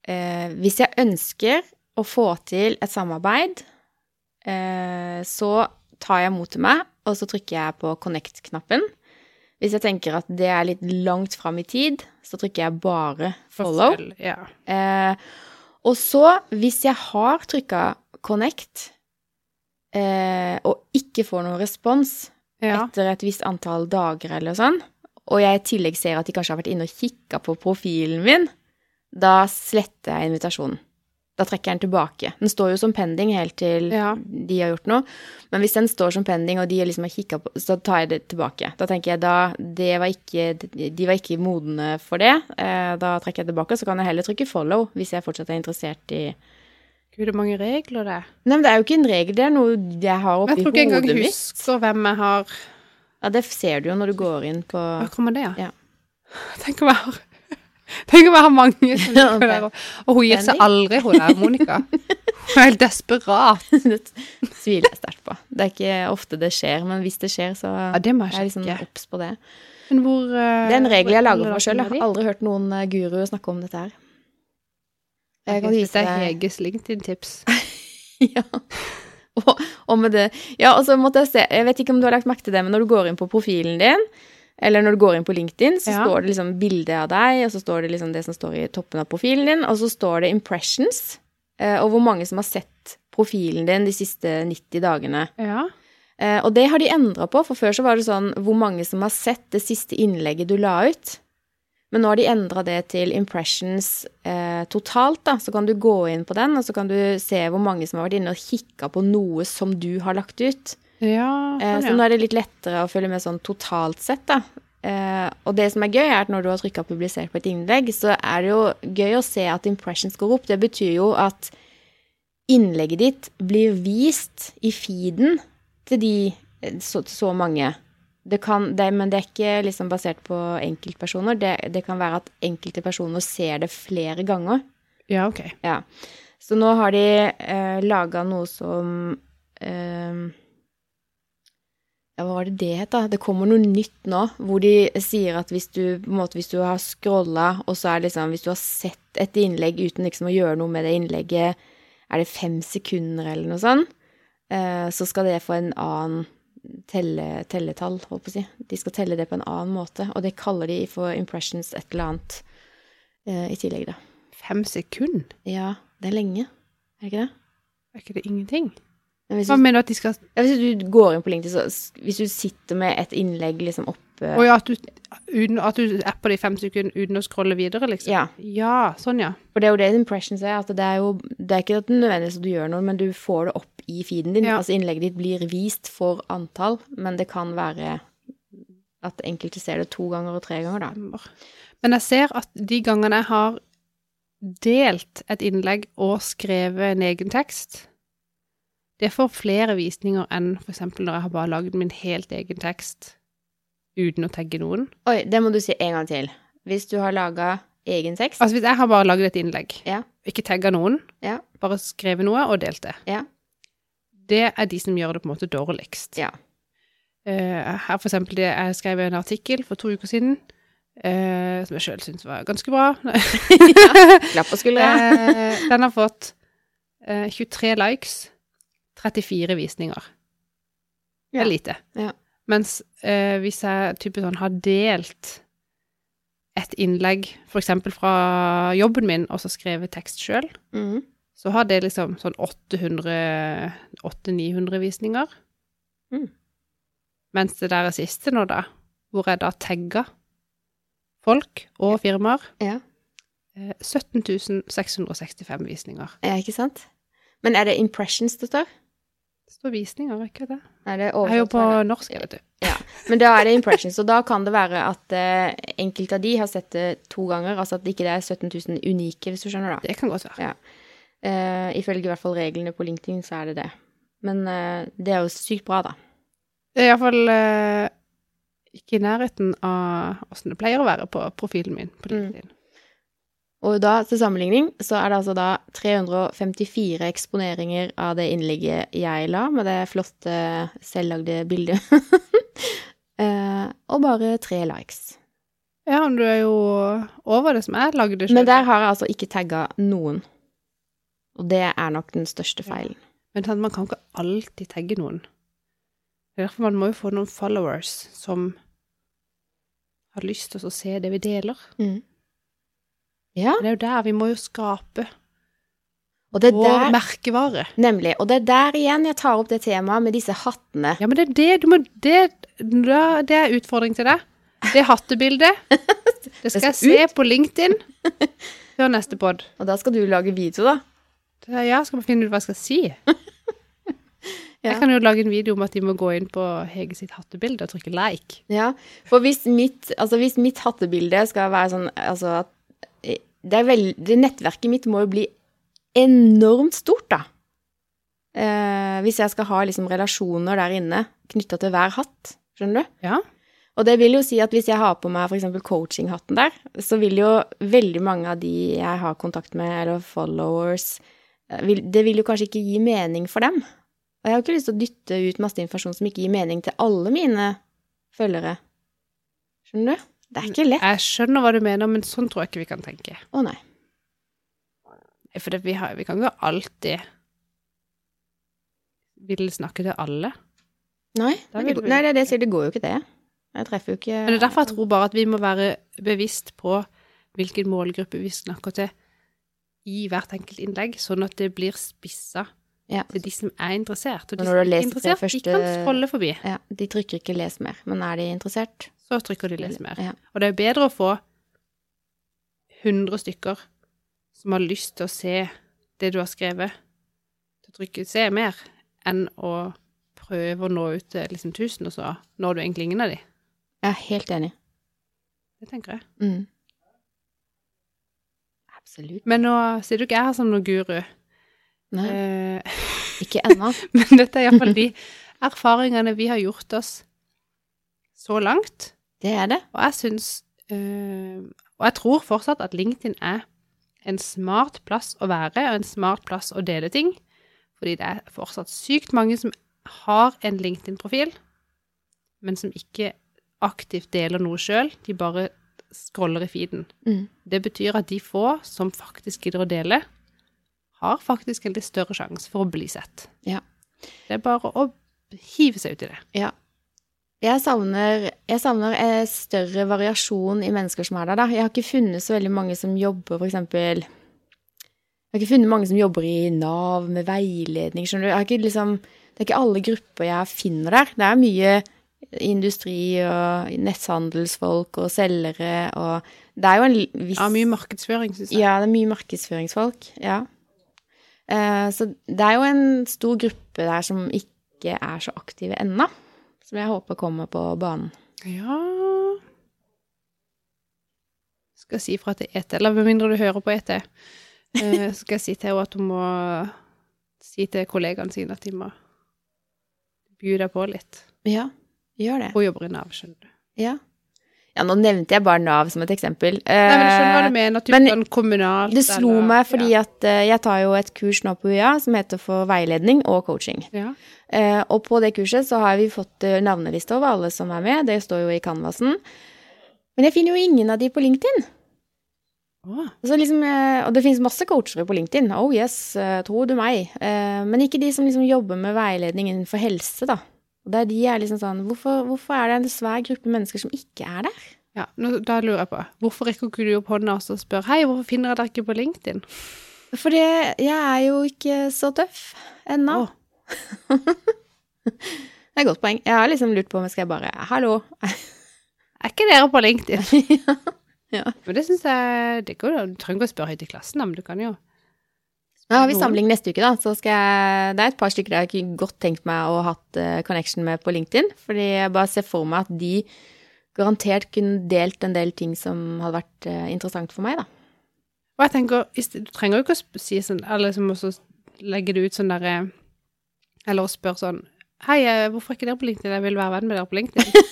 eh, Hvis jeg ønsker å få til et samarbeid, eh, så tar jeg mot til meg, og så trykker jeg på connect-knappen. Hvis jeg tenker at det er litt langt fram i tid, så trykker jeg bare follow. Forfølg, Ja. Eh, og så, hvis jeg har trykka connect eh, og ikke får noen respons, ja. etter et visst antall dager eller sånn, og jeg i tillegg ser at de kanskje har vært inne og kikka på profilen min, da sletter jeg invitasjonen. Da trekker jeg den tilbake. Den står jo som pending helt til Ja. de har gjort noe. Men hvis den står som pending, og de liksom har kikka på, så tar jeg det tilbake. Da tenker jeg da det var ikke, De var ikke modne for det. Eh, Da trekker jeg tilbake, og så kan jeg heller trykke follow hvis jeg fortsatt er interessert i Gud, det er mange regler, det. Nei, men det er jo ikke en regel, det er noe jeg har Men oppi jeg tror ikke hodet engang mitt. husker hvem jeg har Ja, det ser du jo når du går inn på Hvor kommer det, Ja. Tenk om jeg har Tenk om jeg har mange som Ja, liker det. Og hun gir seg Bendik. aldri, hun der Monica. Hun er helt desperat. Det tviler jeg sterkt på. Det er ikke ofte det skjer, men hvis det skjer, så Ja, det må jeg er jeg liksom sjekke. obs på det. Men hvor Det er en regel jeg lager for meg sjøl. Jeg har aldri hørt noen eh, guru snakke om dette her. Jeg kan vise Dette er deg Heges LinkedIn-tips. ja. og, og med det Ja, og så måtte jeg se Jeg vet ikke om du har lagt merke til det, men når du går inn på profilen din, eller når du går inn på LinkedIn, så Ja. står det liksom bilde av deg, og så står det liksom det som står i toppen av profilen din, og så står det impressions, eh, og hvor mange som har sett profilen din de siste 90 dagene. Ja. Eh, og det har de endra på, for før så var det sånn hvor mange som har sett det siste innlegget du la ut. Men nå har de endra det til impressions eh, totalt, da. Så kan du gå inn på den, og så kan du se hvor mange som har vært inne og kikka på noe som du har lagt ut. ja, Eh, så sånn, nå ja. er det litt lettere å følge med sånn totalt sett, da. Eh, og det som er gøy, er at når du har trykka 'publisert' på et innlegg, så er det jo gøy å se at impressions går opp. Det betyr jo at innlegget ditt blir vist i feeden til de eh, så, til så mange. Det kan, det, men det er ikke liksom basert på enkeltpersoner. Det, det kan være at enkelte personer ser det flere ganger. ja, ok. Ja. Så nå har de eh, laga noe som eh, Ja, hva var det det het, da? Det kommer noe nytt nå, hvor de sier at hvis du, på en måte, hvis du har scrolla, og så er det liksom Hvis du har sett et innlegg uten liksom å gjøre noe med det innlegget, er det fem sekunder eller noe sånt, eh, så skal det få en annen telle, telletall, holdt på å si. De skal telle det på en annen måte, og det kaller de for impressions et eller annet eh, i tillegg, da. Fem sekunder? Ja, det er lenge. Er det ikke det? Er ikke det ingenting? Men Hvis Hva du, mener du at de skal ja, hvis du går inn på LinkedIn, så s- hvis du sitter med et innlegg liksom oppe Å ja, at du, uten, at du apper det i fem sekunder uten å scrolle videre, liksom? Ja. Ja, sånn, ja. For det er jo det impressions er. At det er jo det er ikke at det nødvendigvis at du gjør noe, men du får det opp i feeden din. Ja. Altså innlegget ditt blir vist for antall, men det kan være at enkelte ser det to ganger og tre ganger, da. Stemmer. Men jeg ser at de gangene jeg har delt et innlegg og skrevet en egen tekst, det får flere visninger enn f.eks. når jeg har bare lagd min helt egen tekst uten å tagge noen. Oi, det må du si en gang til. Hvis du har laga egen tekst Altså hvis jeg har bare lagd et innlegg, Ja. ikke tagga noen, Ja. bare skrevet noe og delt det, Ja. det er de som gjør det på en måte dårligst. Ja. Eh, her for eksempel, det, jeg skrev en artikkel for to uker siden, eh, som jeg sjøl syntes var ganske bra. Klapp på skuldra. Eh, den har fått eh, 23 likes, 34 visninger. Det Ja. er lite. Ja. Mens eh, hvis jeg type sånn har delt et innlegg, f.eks. fra jobben min, og så skrevet tekst sjøl, Mhm. så har det liksom sånn 800 800-900 visninger. Mm. Mens det der er siste nå, da, hvor jeg da tagga folk og firmaer, Ja. eh, 17 665 visninger. ja, ikke sant? Men er det impressions det står? Det står visninger, ikke det? Er det Jeg er jo oversatt på fra- norsk, jeg, vet du. Men da er det impressions, og da kan det være at eh, enkelte av de har sett det to ganger, altså at det ikke er 17 000 unike, hvis du skjønner, da. Det kan godt være. Ja. Eh, ifølge i hvert fall reglene på LinkedIn, så er det det. Men eh, det er jo sykt bra, da. Det er iallfall eh, ikke i nærheten av åssen det pleier å være på profilen min på Mm. LinkedIn. Og da, til sammenligning, så er det altså da 354 eksponeringer av det innlegget jeg la, med det flotte selvlagde bildet. Eh, og bare tre likes. Ja, men du er jo over det som jeg lagde sjøl. Men der har jeg altså ikke tagga noen. Og det er nok den største feilen. Men sant, man kan ikke alltid tagge noen. Det er derfor man må jo få noen followers som har lyst til å se det vi deler. Mm. Ja, Men Det er jo der vi må jo skape og det er vår der, merkevare. nemlig, og det er der igjen jeg tar opp det temaet med disse hattene. Ja, men det er det du må Det, da- det er utfordring til deg. Det hattebildet. Det skal jeg se på LinkedIn før neste pod. Og da skal du lage video, da. Da- Ja, skal man finne ut hva jeg skal si. Jeg Ja. kan jo lage en video om at de må gå inn på Hege sitt hattebilde og trykke like. Ja, for hvis mitt, altså hvis mitt hattebilde skal være sånn altså at det, er vel- det nettverket mitt må jo bli enormt stort, da. Eh, hvis jeg skal ha liksom relasjoner der inne knytta til hver hatt. Skjønner du? Ja. Og det vil jo si at hvis jeg har på meg f.eks. coachinghatten der, så vil jo veldig mange av de jeg har kontakt med, eller followers, eh, vil, det vil jo kanskje ikke gi mening for dem. Og jeg har jo ikke lyst til å dytte ut masse informasjon som ikke gir mening til alle mine følgere. Skjønner du? Det er ikke lett. Jeg skjønner hva du mener, men sånn tror jeg ikke vi kan tenke. Å nei. Nei, For det, vi, har, vi kan ikke alltid vil snakke til alle. Nei, Da det, vil du- nei det er det jeg sier, det går jo ikke det. Jeg treffer jo ikke Men det er derfor jeg tror bare at vi må være bevisst på hvilken målgruppe vi snakker til i hvert enkelt innlegg, sånn at det blir spissa ja. til de som er interessert. Og de Når du som ikke har er lest det interessert, de første- kan scrolle forbi. ja, De trykker ikke 'les mer', men er de interessert? Så trykker de 'les mer'. Ja. Og det er bedre å få 100 stykker som har lyst til å se det du har skrevet, til å trykke 'se mer', enn å prøve å nå ut til liksom 1000, og så når du egentlig ingen av de. Jeg er helt enig. Det tenker jeg. Mm. Absolutt. Men nå sitter jo ikke jeg her som noen guru. Nei. Eh, Ikke ennå. Men dette er iallfall de erfaringene vi har gjort oss så langt. Det er det. Og jeg syns eh, Og jeg tror fortsatt at LinkedIn er en smart plass å være, og en smart plass å dele ting. Fordi det er fortsatt sykt mange som har en LinkedIn-profil, men som ikke aktivt deler noe sjøl. De bare scroller i feeden. Mm. Det betyr at de få som faktisk gidder å dele, har faktisk en litt større sjanse for å bli sett. Ja. Det er bare å hive seg ut i det. Ja. Jeg savner, jeg savner eh, større variasjon i mennesker som er der. Da. Jeg har ikke funnet så veldig mange som jobber f.eks. Jeg har ikke funnet mange som jobber i Nav med veiledning, skjønner du. Jeg har ikke liksom, det er ikke alle grupper jeg finner der. Det er mye industri og netthandelsfolk og selgere og Det er jo en l- viss Ja, mye markedsføring, syns jeg. Ja, det er mye markedsføringsfolk. Ja. Eh, så det er jo en stor gruppe der som ikke er så aktive ennå. Som jeg håper kommer på banen. Ja Skal si fra til ET, eller med mindre du hører på ET, eh, så skal jeg si til henne at hun må si til kollegaene sine at de må by deg på litt. Ja, gjør det. Hun jobber i Nav, skjønner du. Ja. ja, nå nevnte jeg bare Nav som et eksempel. Nei, men jeg skjønner hva du mener, at du Eh, men kan kommunalt Det slo eller- meg fordi at eh, jeg tar jo et kurs nå på UiA som heter for veiledning og coaching. ja. Eh, og på det kurset så har vi fått eh, navneliste over alle som er med. Det står jo i canvasen. Men jeg finner jo ingen av de på LinkedIn. Å, Så liksom, eh, og det finnes masse coachere på LinkedIn. Oh yes, eh, tror du meg. Eh, Men ikke de som liksom jobber med veiledning innenfor helse, da. Og der de er liksom sånn hvorfor, hvorfor er det en svær gruppe mennesker som ikke er der? ja. Nå, da lurer jeg på, hvorfor rekker ikke du opp hånda og så spør hei, hvorfor finner jeg dere ikke på LinkedIn? For det- jeg er jo ikke så tøff ennå. Å. det er et godt poeng. Jeg har liksom lurt på om jeg skal bare Hallo. Er ikke dere på LinkedIn? Ja. Men det syns jeg det går, jo- Du trenger ikke å spørre høyt i klassen, da, men du kan jo Nå har vi samling neste uke, da. Så skal jeg, det er et par stykker jeg har ikke godt tenkt meg å ha hatt eh, connection med på LinkedIn. Fordi jeg bare ser for meg at de garantert kunne delt en del ting som hadde vært eh, interessant for meg, da. Og jeg tenker, i sted- du trenger jo ikke å sp- si sånn, eller liksom også legge det ut sånn derre Eller å spørre sånn Hei, eh, hvorfor er ikke dere på LinkedIn? Jeg vil være venn med dere på LinkedIn.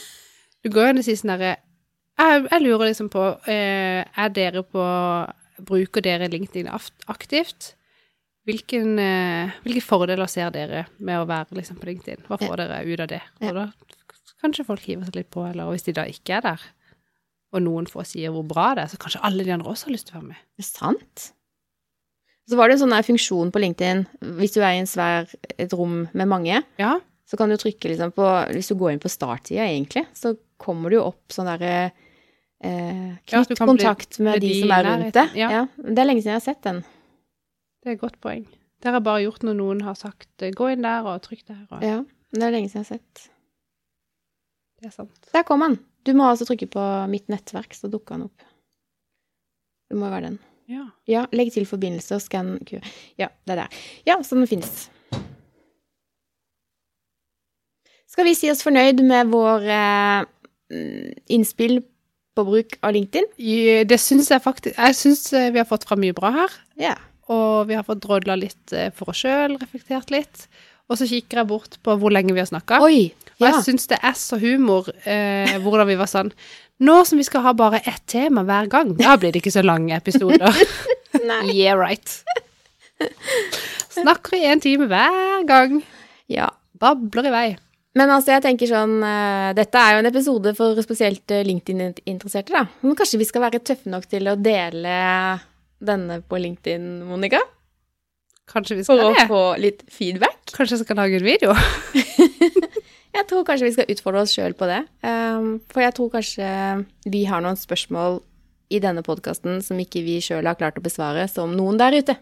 Du går jo an å si sånn derre jeg, jeg lurer liksom på eh, Er dere på Bruker dere LinkedIn aft- aktivt? Hvilken, eh, hvilke fordeler ser dere med å være liksom, på LinkedIn? Hva får dere ut av det? Og da kanskje folk hiver seg litt på, eller hvis de da ikke er der, og noen få sier hvor bra det er, så kanskje alle de andre også har lyst til å være med. Er det sant? Så var det en sånn der funksjon på LinkedIn. Hvis du er i en svær, et rom med mange, Ja. så kan du trykke liksom på Hvis du går inn på starttida, egentlig, så kommer du jo opp sånn derre eh, Ja, at du Knytt kan bli- kontakt med, med de, de som i er rundt deg. nærheten, ja. Det er lenge siden jeg har sett den. Det er et godt poeng. Det har jeg bare gjort når noen har sagt eh, 'gå inn der' og 'trykk der', og Ja, det er lenge siden jeg har sett. det er sant. Der kom han. Du må altså trykke på mitt nettverk, så dukker han opp. Det må jo være den. Ja. Ja, legg til forbindelse og skann Q. Ja, det er der. Ja, så den finnes. Skal vi si oss fornøyd med vår eh, innspill på bruk av LinkedIn? I- Det syns jeg faktisk Jeg syns eh, vi har fått fram mye bra her. Ja. Og vi har fått drodla litt eh, for oss sjøl, reflektert litt. Og så kikker jeg bort på hvor lenge vi har snakka. Og Oi! Ja. jeg syns det er så humor eh, hvordan vi var sånn Nå som vi skal ha bare ett tema hver gang, da blir det ikke så lange episoder. Nei. yeah, right. Snakker i en time hver gang. ja. Babler i vei. Men altså, jeg tenker sånn eh, Dette er jo en episode for spesielt eh, LinkedIn-interesserte, da. Men kanskje vi skal være tøffe nok til å dele denne på LinkedIn, Monica? Kanskje vi For skal å det? få litt feedback? Kanskje jeg skal lage en video? Jeg tror kanskje vi skal utfordre oss sjøl på det. Um, for jeg tror kanskje vi har noen spørsmål i denne podkasten som ikke vi sjøl har klart å besvare, som noen der ute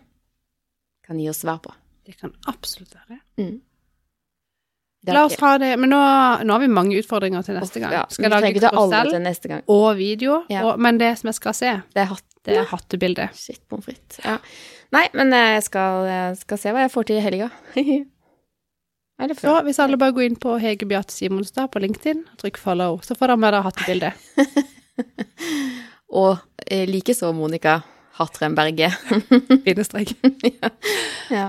kan gi oss svar på. Det kan absolutt være. Det er La oss ikke- ta det, men nå, nå har vi mange utfordringer til neste gang. Ja, skal vi lage trenger ikke ta alle karusell til neste gang. og video, Ja. og, men det som jeg skal se, Det er hatt. det er hattebildet. Shit, pommes frites. Ja. Nei, men eh, jeg skal, jeg skal se hva jeg får til i helga. Eller Så før. hvis alle bare går inn på Hege Beate Simonstad på LinkedIn og trykk 'follow', så får dere med dere hattebildet. Og eh, likeså Monica Hatremberget. Bindestrek. ja.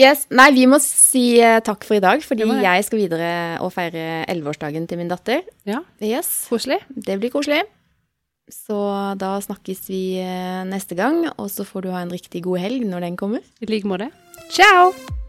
Yes. Nei, vi må si eh, takk for i dag, fordi Det må det. jeg skal videre og feire elleveårsdagen til min datter. Ja, Yes. koselig. Det blir koselig. Så da snakkes vi eh, neste gang, og så får du ha en riktig god helg når den kommer. I like måte. Ciao!